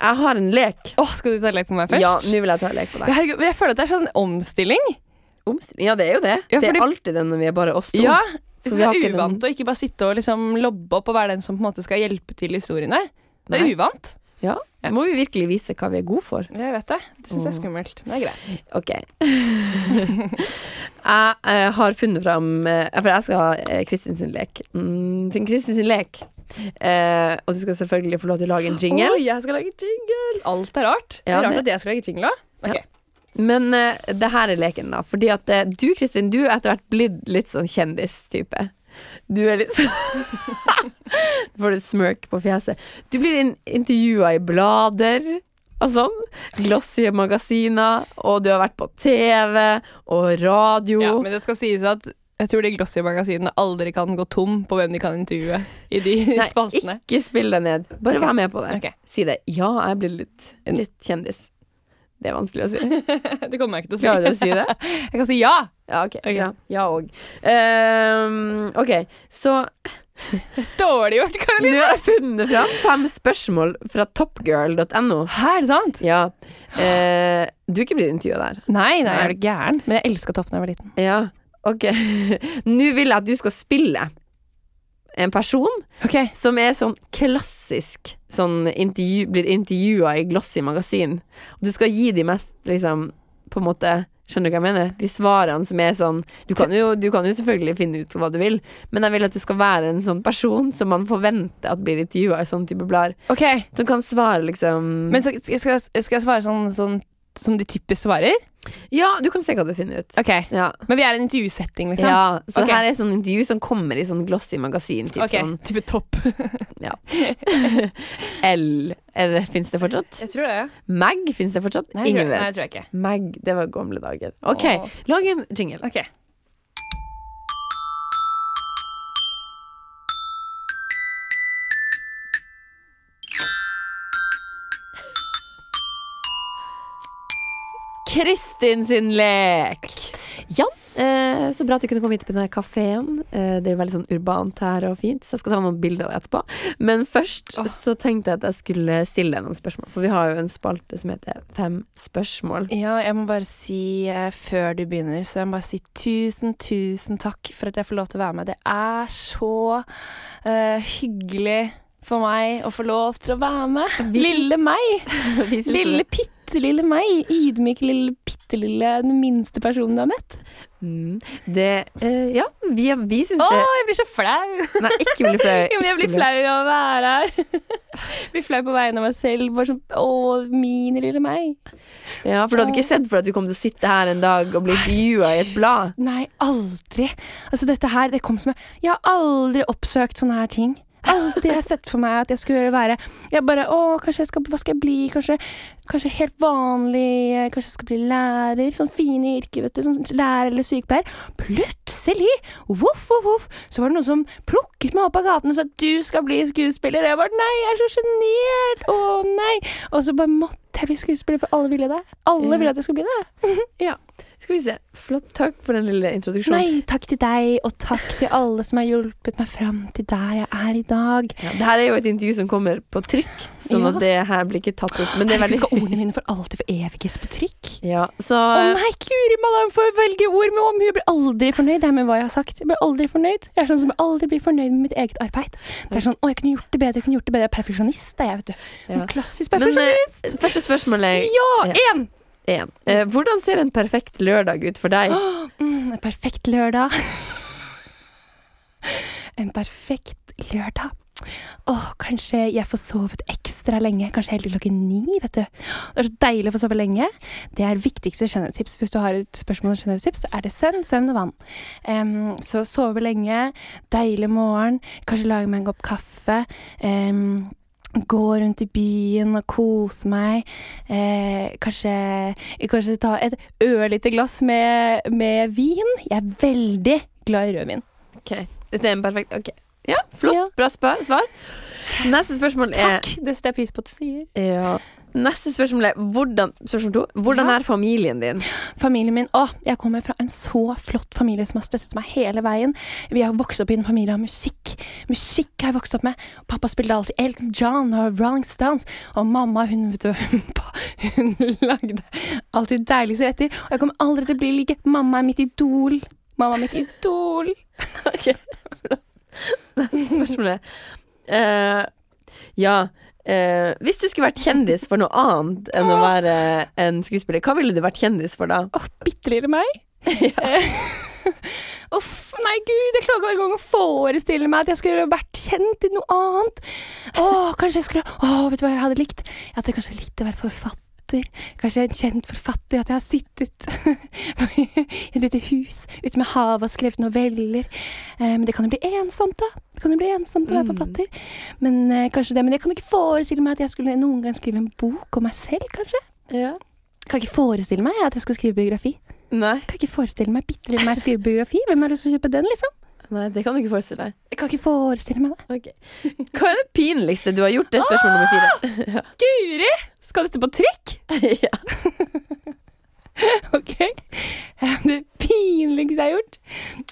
[SPEAKER 2] jeg har en lek.
[SPEAKER 1] skal du ta lek på meg først?
[SPEAKER 2] Ja, nå vil jeg ta en lek på deg.
[SPEAKER 1] Ja, herregud, jeg føler at det er sånn omstilling.
[SPEAKER 2] Omstilling. Ja, det er jo det.
[SPEAKER 1] Ja,
[SPEAKER 2] Det
[SPEAKER 1] fordi-
[SPEAKER 2] er alltid den når vi er bare oss to.
[SPEAKER 1] Ja,
[SPEAKER 2] Så
[SPEAKER 1] jeg synes
[SPEAKER 2] vi har
[SPEAKER 1] det
[SPEAKER 2] ikke
[SPEAKER 1] er
[SPEAKER 2] den-
[SPEAKER 1] uvant å ikke bare sitte og liksom lobbe opp og være den som på en måte skal hjelpe til i historiene. Det
[SPEAKER 2] Nei.
[SPEAKER 1] er uvant.
[SPEAKER 2] Da Må vi virkelig vise hva vi er gode for?
[SPEAKER 1] Jeg vet det. Det syns jeg
[SPEAKER 2] Mm.
[SPEAKER 1] er skummelt. Men det er greit.
[SPEAKER 2] Ok. jeg eh, har funnet fram eh, For jeg skal ha eh, Kristin sin lek. Mm, sin Kristin sin lek. Eh, og du skal selvfølgelig få lov til å lage en jingle.
[SPEAKER 1] Oi, jeg skal lage jingle! Alt er rart. det
[SPEAKER 2] Ja,
[SPEAKER 1] er rart
[SPEAKER 2] det-
[SPEAKER 1] at jeg skal lage jingle òg. Ok.
[SPEAKER 2] Men eh, det her er leken, da. Fordi at eh, du, Kristin, du er etter hvert blitt litt sånn kjendistype. Du er litt sånn Nå får du et smirk på fjeset. Du blir in intervjua i blader og sånn. Glossy magasiner. Og du har vært på TV og radio.
[SPEAKER 1] Ja, men det skal sies at jeg tror de glossy-magasinene aldri kan gå tom på hvem de kan intervjue i de
[SPEAKER 2] Nei,
[SPEAKER 1] spaltene.
[SPEAKER 2] ikke spill deg ned. Bare
[SPEAKER 1] Ok.
[SPEAKER 2] vær med på det.
[SPEAKER 1] Ok.
[SPEAKER 2] Si det. Ja, jeg blir litt, litt kjendis. Det er vanskelig å si.
[SPEAKER 1] Det kommer jeg ikke til å
[SPEAKER 2] Klarer du
[SPEAKER 1] si.
[SPEAKER 2] å si det?
[SPEAKER 1] Jeg kan si ja!
[SPEAKER 2] Ja, ok.
[SPEAKER 1] Ok.
[SPEAKER 2] Ja, ja og. Ehm, ok, så
[SPEAKER 1] Dårlig gjort,
[SPEAKER 2] nå
[SPEAKER 1] Karoline.
[SPEAKER 2] har jeg funnet fram fem spørsmål fra topgirl.no.
[SPEAKER 1] Hæ, er det sant?
[SPEAKER 2] Ja. Eh, du er ikke blitt intervjua der.
[SPEAKER 1] Nei, nei,
[SPEAKER 2] Nei.
[SPEAKER 1] er du gæren? Men jeg elska Topp da jeg var liten.
[SPEAKER 2] Ja, ok. Nå vil jeg at du skal spille en person
[SPEAKER 1] Ok,
[SPEAKER 2] som er sånn klassisk sånn intervju, blir intervjua i glossy magasin. Og du skal gi de mest, liksom, på en måte Skjønner du hva jeg mener? De svarene som er sånn du kan, jo, du kan jo selvfølgelig finne ut hva du vil, men jeg vil at du skal være en sånn person som man forventer at blir intervjua i sånn type blader.
[SPEAKER 1] ok.
[SPEAKER 2] Som kan svare, liksom
[SPEAKER 1] Men så, skal, jeg, skal jeg svare sånn, sånn som de typisk svarer?
[SPEAKER 2] Ja, du kan se hva du finner ut.
[SPEAKER 1] Ok,
[SPEAKER 2] Ja.
[SPEAKER 1] Men vi er i en intervjusetting, liksom?
[SPEAKER 2] ja så
[SPEAKER 1] Ok.
[SPEAKER 2] det her er sånn intervju som kommer i sånn glossy magasin, typ
[SPEAKER 1] Ok,
[SPEAKER 2] sånn
[SPEAKER 1] Type topp.
[SPEAKER 2] L. Er det- Fins det fortsatt?
[SPEAKER 1] Jeg tror det.
[SPEAKER 2] Mag? Fins det fortsatt?
[SPEAKER 1] Nei, jeg
[SPEAKER 2] Ingen
[SPEAKER 1] tror-
[SPEAKER 2] vet.
[SPEAKER 1] Nei, jeg tror jeg ikke.
[SPEAKER 2] Meg, det var gamle dager. OK,
[SPEAKER 1] Åh.
[SPEAKER 2] lag en jingle.
[SPEAKER 1] Ok.
[SPEAKER 2] Kristin sin lek! Ja, eh, så bra at du kunne komme hit på denne kafeen. Eh, det er jo veldig sånn urbant her og fint, så jeg skal ta noen bilder av det etterpå. Men først
[SPEAKER 1] Åh.
[SPEAKER 2] så tenkte jeg at jeg skulle stille deg noen spørsmål, for vi har jo en spalte som heter Fem spørsmål.
[SPEAKER 1] Ja, jeg må bare si eh, før du begynner, så jeg må bare si tusen, tusen takk for at jeg får lov til å være med. Det er så eh, hyggelig for meg å få lov til å være med.
[SPEAKER 2] Vi-
[SPEAKER 1] Lille meg.
[SPEAKER 2] Vi synes-
[SPEAKER 1] Lille bitte lille meg. Ydmyke lille bitte lille den minste personen du har møtt.
[SPEAKER 2] Mm, det eh, Ja, vi, vi syns
[SPEAKER 1] Å,
[SPEAKER 2] det
[SPEAKER 1] jeg blir så flau!
[SPEAKER 2] Nei, ikke bli flau.
[SPEAKER 1] Jo, men jeg
[SPEAKER 2] ikke
[SPEAKER 1] blir
[SPEAKER 2] bli-
[SPEAKER 1] flau av å være her. blir flau på vegne av meg selv. Bare sånn Å, min lille meg.
[SPEAKER 2] Ja, for du hadde ikke sett for deg at du kom til å sitte her en dag og bli intervjua i et blad.
[SPEAKER 1] Nei, aldri. Altså, dette her, det kom som en- Jeg har aldri oppsøkt sånne her ting. alltid har sett for meg at jeg skulle være Jeg bare Å, kanskje jeg skal Hva skal jeg bli? Kanskje, kanskje helt vanlig eh, Kanskje jeg skal bli lærer? Sånn fine yrker, vet du. Sånn lærer eller sykepleier. Plutselig, voff, voff, voff, så var det noen som plukket meg opp av gaten og sa du skal bli skuespiller. Og jeg bare nei, jeg er så sjenert. Å nei. Og så bare måtte jeg bli skuespiller, for alle ville det. Alle
[SPEAKER 2] Ja.
[SPEAKER 1] ville at jeg skulle bli det.
[SPEAKER 2] Skal vi se. Flott. Takk for den lille introduksjonen.
[SPEAKER 1] Nei, takk til deg, og takk til alle som har hjulpet meg fram til der jeg er i dag.
[SPEAKER 2] Ja, det her er jo et intervju som kommer på trykk, sånn
[SPEAKER 1] Ja.
[SPEAKER 2] at det her blir ikke tatt opp. Men det er
[SPEAKER 1] Herregud, skal
[SPEAKER 2] veldig
[SPEAKER 1] ordene mine for alltid foreviges på trykk?
[SPEAKER 2] ja, så,
[SPEAKER 1] Å nei, Guri malla, jeg får velge ord med omhu. Jeg blir aldri fornøyd jeg, med hva jeg har sagt. Jeg blir aldri fornøyd. Jeg er sånn som aldri blir fornøyd med mitt eget arbeid. Det er sånn, å, jeg kunne gjort det bedre, jeg kunne gjort det bedre. Jeg er perfeksjonist, er jeg, vet du. Sånn
[SPEAKER 2] Ja.
[SPEAKER 1] klassisk
[SPEAKER 2] Men, eh,
[SPEAKER 1] perfeksjonist.
[SPEAKER 2] Første spørsmål er
[SPEAKER 1] Ja, én!
[SPEAKER 2] én. Eh, hvordan ser en perfekt lørdag ut for deg?
[SPEAKER 1] Mm, en perfekt lørdag. En perfekt lørdag. Åh, kanskje jeg får sovet ekstra lenge. Kanskje helt til klokken ni, vet du. Det er så deilig å få sove lenge. Det er viktigste skjønnhetstips. Hvis du har et spørsmål om skjønnhetstips, så er det søvn, søvn og vann. Em, så sove lenge, deilig morgen, kanskje lage meg en kopp kaffe. em, Gå rundt i byen og kose meg. Eh, kanskje, kanskje ta et ørlite glass med, med vin. Jeg er veldig glad i rødvin.
[SPEAKER 2] Ok, Dette er en perfekt ok. Ja, flott.
[SPEAKER 1] Ja.
[SPEAKER 2] Bra spa- svar. Neste spørsmål er
[SPEAKER 1] Takk! Eh, Det setter jeg pris på at du sier.
[SPEAKER 2] ja. Neste spørsmål er hvordan, spørsmål to, hvordan
[SPEAKER 1] Ja.
[SPEAKER 2] er familien din?
[SPEAKER 1] Familien min Å, jeg kommer fra en så flott familie som har støttet meg hele veien. Vi har vokst opp i en familie av musikk. Musikk har jeg vokst opp med. Pappa spilte alltid Elton John og Rolling Stones. Og mamma, hun vet du pa- Hun lagde alltid deiligste retter. Og jeg kommer aldri til å bli like. Mamma er mitt idol. Mamma er mitt idol.
[SPEAKER 2] Ok, bra. Neste spørsmål er eh, Ja. eh, hvis du skulle vært kjendis for noe annet enn å være en skuespiller, hva ville du vært kjendis for da?
[SPEAKER 1] Åh, bitte lille meg. Eh, Uff, nei gud, jeg klarer ikke engang å forestille meg at jeg skulle vært kjent i noe annet. Åh, kanskje jeg skulle Åh, vet du hva jeg hadde likt? Jeg hadde kanskje likt å være forfatter. Kanskje en kjent forfatter. At jeg har sittet i et lite hus ute med havet og skrevet noveller. Eh, Men det kan jo bli ensomt, da. Det kan jo bli ensomt å være
[SPEAKER 2] Mm.
[SPEAKER 1] forfatter. Men eh, kanskje det. Men jeg kan ikke forestille meg at jeg skulle noen gang skrive en bok om meg selv, kanskje. Kan ikke forestille meg at jeg skal skrive biografi.
[SPEAKER 2] Nei,
[SPEAKER 1] Kan ikke forestille meg bitte lille meg skrive biografi. Hvem har lyst til å kjøpe den, liksom?
[SPEAKER 2] nei, det kan du ikke forestille deg.
[SPEAKER 1] Jeg kan ikke forestille meg det.
[SPEAKER 2] Ok. Hva er det pinligste du har gjort? Det er spørsmål nummer fire.
[SPEAKER 1] Guri! Skal dette på trykk?
[SPEAKER 2] ja.
[SPEAKER 1] Ok. Det pinligste jeg har gjort.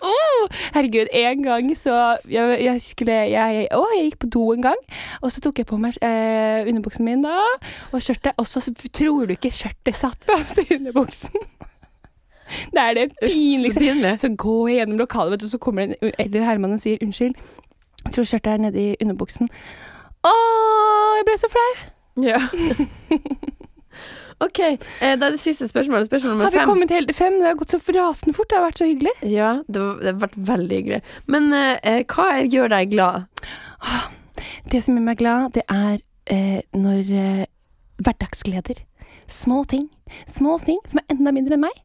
[SPEAKER 1] Åh, herregud, en gang så jeg, jeg skulle jeg, jeg, Å, jeg gikk på do en gang, og så tok jeg på meg eh, underbuksen min da, og skjørtet, og så tror du ikke skjørtet satt fast i underbuksen. Det er det pinligste.
[SPEAKER 2] Så pinlig.
[SPEAKER 1] Så går jeg gjennom lokalet, vet du, så kommer det en eldre herremann og sier unnskyld. Jeg tror skjørtet er nedi underbuksen. Å, jeg ble så flau!
[SPEAKER 2] Ja. OK, eh, da er det siste spørsmålet. Spørsmål nummer
[SPEAKER 1] Har vi
[SPEAKER 2] fem.
[SPEAKER 1] kommet helt til fem? Det har gått så rasende fort. Det har vært så hyggelig.
[SPEAKER 2] Ja, det, var, det har vært veldig hyggelig. Men eh, eh, hva er- gjør deg glad?
[SPEAKER 1] Det som gjør meg glad, det er eh, når eh, hverdagsgleder. Små ting. Små ting som er enda mindre enn meg.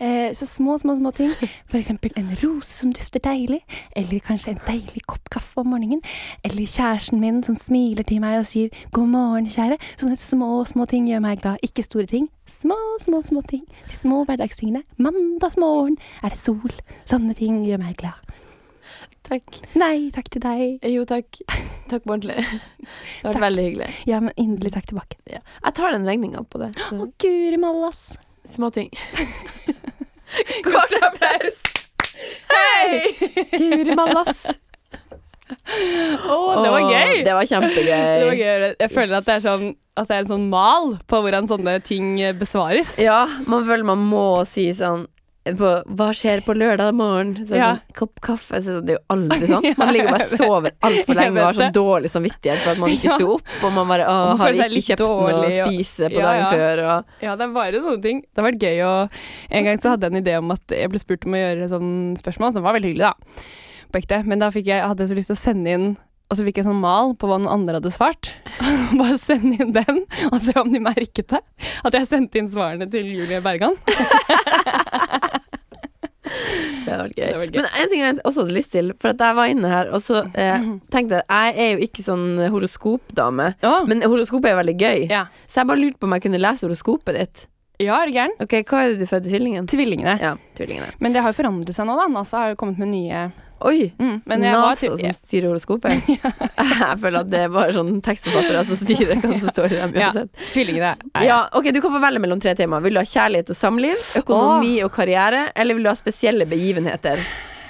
[SPEAKER 1] Eh, så små, små, små ting. For eksempel en rose som dufter deilig. Eller kanskje en deilig kopp kaffe om morgenen. Eller kjæresten min som smiler til meg og sier 'god morgen, kjære'. Sånne små, små ting gjør meg glad. Ikke store ting. Små, små, små ting. De små hverdagstingene. Mandagsmorgen er det sol. Sånne ting gjør meg glad.
[SPEAKER 2] Takk.
[SPEAKER 1] Nei, takk til deg.
[SPEAKER 2] Eh, Jo, takk. Takk på ordentlig. Det har vært
[SPEAKER 1] Takk.
[SPEAKER 2] veldig hyggelig.
[SPEAKER 1] Ja, men inderlig takk tilbake.
[SPEAKER 2] Ja. Jeg tar den regninga på det.
[SPEAKER 1] Å,
[SPEAKER 2] så-
[SPEAKER 1] guri mallas.
[SPEAKER 2] Småting. Kort applaus! Hei! Guri mallas.
[SPEAKER 1] Å,
[SPEAKER 2] Åh, Det var kjempegøy.
[SPEAKER 1] Det var gøy. Jeg føler at det er, sånn, at det er en sånn mal på hvordan sånne ting eh, besvares.
[SPEAKER 2] Ja, man føler man må si sånn på, hva skjer på lørdag morgen? Så er det
[SPEAKER 1] Ja.
[SPEAKER 2] sånn, kopp kaffe så Det er jo aldri sånn. Man ligger bare og sover altfor
[SPEAKER 1] Jeg
[SPEAKER 2] lenge og har så
[SPEAKER 1] vet det.
[SPEAKER 2] dårlig samvittighet for at man ikke
[SPEAKER 1] Ja.
[SPEAKER 2] sto opp, og man bare å,
[SPEAKER 1] Og man
[SPEAKER 2] har
[SPEAKER 1] føler seg
[SPEAKER 2] ikke
[SPEAKER 1] litt
[SPEAKER 2] kjøpt noe å
[SPEAKER 1] dårlig, og-
[SPEAKER 2] spise på
[SPEAKER 1] Ja,
[SPEAKER 2] dagen
[SPEAKER 1] ja.
[SPEAKER 2] før. Og,
[SPEAKER 1] Ja, det er bare sånne ting. Det har vært gøy å En gang så hadde jeg en idé om at jeg ble spurt om å gjøre sånn spørsmål, som var veldig hyggelig, da. På ekte. Men da fikk jeg, hadde jeg så lyst til å sende inn og så fikk jeg sånn mal på hva noen andre hadde svart. Bare sende inn den, og se om de merket det. At jeg sendte inn svarene til Julie Bergan.
[SPEAKER 2] Det hadde vært gøy.
[SPEAKER 1] hadde vært gøy.
[SPEAKER 2] Men en ting jeg også hadde lyst til, for at jeg var inne her, og så eh,
[SPEAKER 1] Mhm.
[SPEAKER 2] tenkte jeg Jeg er jo ikke sånn horoskopdame,
[SPEAKER 1] Å,
[SPEAKER 2] men horoskopet er jo veldig gøy.
[SPEAKER 1] ja.
[SPEAKER 2] Så jeg bare lurte på om jeg kunne lese horoskopet ditt.
[SPEAKER 1] ja, er du gæren?
[SPEAKER 2] Ok, Hva er det du fødte tvillingen?
[SPEAKER 1] Tvillingene.
[SPEAKER 2] Ja, tvillingene.
[SPEAKER 1] Men det har jo forandret seg nå, da. NASA har jo kommet med nye
[SPEAKER 2] Oi!
[SPEAKER 1] mm. Men jeg var
[SPEAKER 2] NASA
[SPEAKER 1] typ,
[SPEAKER 2] som styrer horoskopet. Jeg føler at det er bare sånn tekstforfattere som styrer hva som står i dem
[SPEAKER 1] Ja.
[SPEAKER 2] uansett.
[SPEAKER 1] tvillingene. er-
[SPEAKER 2] Ja, ok, Du kan få velge mellom tre temaer. Vil du ha kjærlighet og samliv, økonomi og karriere, eller vil du ha spesielle begivenheter?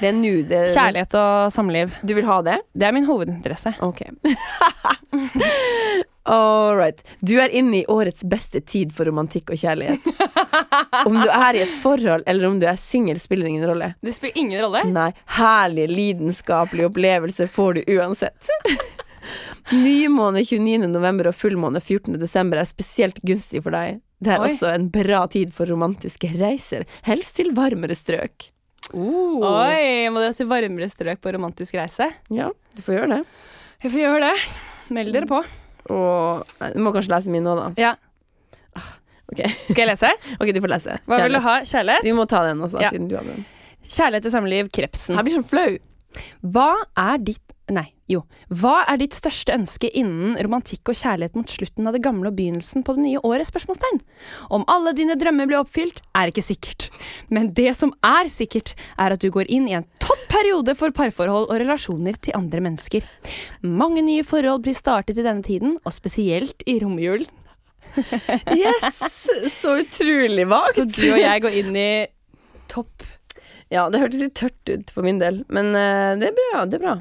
[SPEAKER 2] Det er nå det
[SPEAKER 1] Kjærlighet og samliv.
[SPEAKER 2] Du vil ha det?
[SPEAKER 1] Det er min hovedinteresse.
[SPEAKER 2] Ok. All right. Du er inne i årets beste tid for romantikk og kjærlighet. Om du er i et forhold eller om du er singel, spiller ingen rolle.
[SPEAKER 1] Det spiller ingen rolle.
[SPEAKER 2] Nei, herlige lidenskapelige opplevelser får du uansett. Nymåne 29. november og fullmåne 14. desember er spesielt gunstig for deg. Det er
[SPEAKER 1] Oi.
[SPEAKER 2] også en bra tid for romantiske reiser, helst til varmere strøk.
[SPEAKER 1] Mm. Oi, må dere til varmere strøk på romantisk reise?
[SPEAKER 2] Ja, du får gjøre det.
[SPEAKER 1] Vi får gjøre det. Meld dere på.
[SPEAKER 2] Og Nei, du må kanskje lese min nå, da.
[SPEAKER 1] Ja. Ah,
[SPEAKER 2] Ok.
[SPEAKER 1] Skal jeg lese?
[SPEAKER 2] Ok, du får lese.
[SPEAKER 1] Hva vil du
[SPEAKER 2] Kjærlighet.
[SPEAKER 1] ha? Kjærlighet?
[SPEAKER 2] Vi må ta den også, da,
[SPEAKER 1] Ja.
[SPEAKER 2] siden du hadde den.
[SPEAKER 1] Kjærlighet og samliv, krepsen.
[SPEAKER 2] Jeg blir sånn flau.
[SPEAKER 1] Hva er ditt Nei, jo. Hva er ditt største ønske innen romantikk og kjærlighet mot slutten av det gamle og begynnelsen på det nye året? spørsmålstegn? Om alle dine drømmer blir oppfylt, er ikke sikkert. Men det som er sikkert, er at du går inn i en topp periode for parforhold og relasjoner til andre mennesker. Mange nye forhold blir startet i denne tiden, og spesielt i romjulen.
[SPEAKER 2] Yes! Så utrolig vagt.
[SPEAKER 1] Så du og jeg går inn i topp
[SPEAKER 2] Ja, det hørtes litt tørt ut for min del, men eh, det er bra. Det er bra.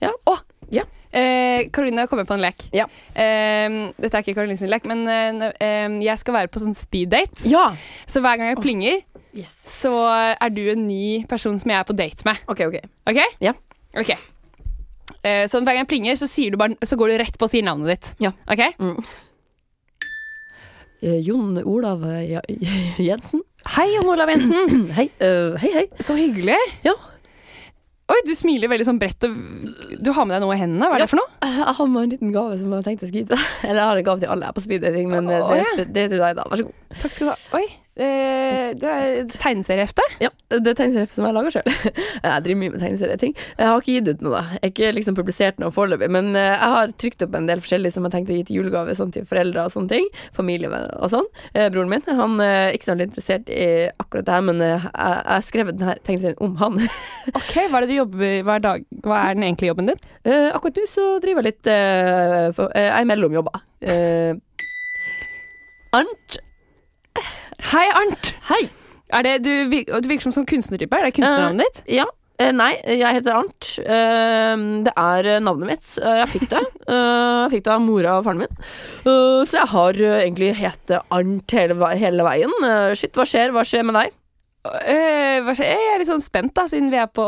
[SPEAKER 1] Karoline Eh, kommer på en lek.
[SPEAKER 2] Ja.
[SPEAKER 1] Eh, dette er ikke Karoline sin lek, men eh, nå- eh, jeg skal være på sånn speeddate.
[SPEAKER 2] Ja!
[SPEAKER 1] Så hver gang jeg plinger,
[SPEAKER 2] Yes.
[SPEAKER 1] så er du en ny person som jeg er på date med.
[SPEAKER 2] OK, OK.
[SPEAKER 1] OK?
[SPEAKER 2] Ja.
[SPEAKER 1] Ok. Eh, så hver gang jeg plinger, så, sier du bare, så går du rett på og sier navnet ditt.
[SPEAKER 2] Ja.
[SPEAKER 1] OK?
[SPEAKER 2] Eh, Jon Olav eh, ja, Jensen.
[SPEAKER 1] Hei, Jon Olav Jensen.
[SPEAKER 2] Hei. eh, hei, hei.
[SPEAKER 1] Så hyggelig.
[SPEAKER 2] Ja.
[SPEAKER 1] Oi, du smiler veldig sånn bredt. Og du har med deg noe i hendene. Hva er
[SPEAKER 2] Ja.
[SPEAKER 1] det for noe?
[SPEAKER 2] Jeg har med en liten gave som jeg tenkte jeg skulle gi deg. Eller jeg har en gave til alle her på speeddating, men eh,
[SPEAKER 1] Å,
[SPEAKER 2] det, er
[SPEAKER 1] ja.
[SPEAKER 2] spe- det er til deg, da. Vær så god.
[SPEAKER 1] Takk skal du ha. Oi. eh, det er et tegneseriehefte.
[SPEAKER 2] Ja, det er tegneserie som jeg lager sjøl. Jeg driver mye med tegneserieting. Jeg har ikke gitt ut noe, da. Jeg har ikke liksom publisert noe foreløpig, men eh, jeg har trykt opp en del forskjellig som jeg tenkte å gi til julegave sånn til foreldre og sånne ting. Familie og sånn. Eh, Broren min han eh, er ikke så veldig interessert i akkurat det her, men eh, jeg jeg har skrevet denne tegneserien om han.
[SPEAKER 1] Ok, Hva er det du jobber hver dag? Hva er den egentlige jobben din?
[SPEAKER 2] Eh, akkurat nå så driver jeg litt eh, for, eh, Jeg er mellom jobber. Eh, Arnt.
[SPEAKER 1] Hei, Arnt!
[SPEAKER 2] Hei.
[SPEAKER 1] Er det, du, vir- du virker som sånn kunstnertype. Er det kunstnernavnet ditt?
[SPEAKER 2] Ja. Eh, nei, jeg heter Arnt. Eh, det er eh, navnet mitt. Eh, jeg fikk det. Eh, jeg fikk det av mora og faren min. Eh, så jeg har eh, egentlig hett Arnt hele, vei- hele veien. Eh, shit, hva skjer? Hva skjer med deg?
[SPEAKER 1] Eh, hva skjer? jeg er litt sånn spent, da, siden vi er på,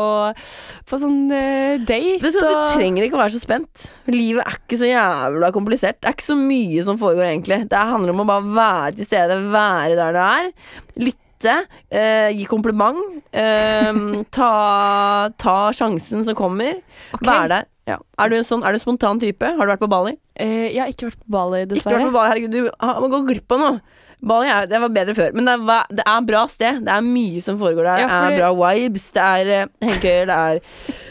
[SPEAKER 1] på sånn eh, date.
[SPEAKER 2] Vet sånn du, hva,
[SPEAKER 1] og-
[SPEAKER 2] du trenger ikke å være så spent. Livet er ikke så jævla komplisert. Det er ikke så mye som foregår, egentlig. Det handler om å bare være til stede, være der du er. Lytte, eh, gi kompliment. Eh, ta, ta sjansen som kommer.
[SPEAKER 1] Ok.
[SPEAKER 2] Være der. Ja. Er, du en sånn, er du en spontan type? Har du vært på Bali?
[SPEAKER 1] Eh, jeg har ikke vært på Bali,
[SPEAKER 2] Ikke vært
[SPEAKER 1] dessverre.
[SPEAKER 2] på Bali, herregud, du har- må gå glipp av noe. Bali er, det var bedre før, men det er, va- det er bra sted. Det er mye som foregår der.
[SPEAKER 1] Ja,
[SPEAKER 2] Det
[SPEAKER 1] fordi-
[SPEAKER 2] er bra vibes, det er eh, hengekøyer, det er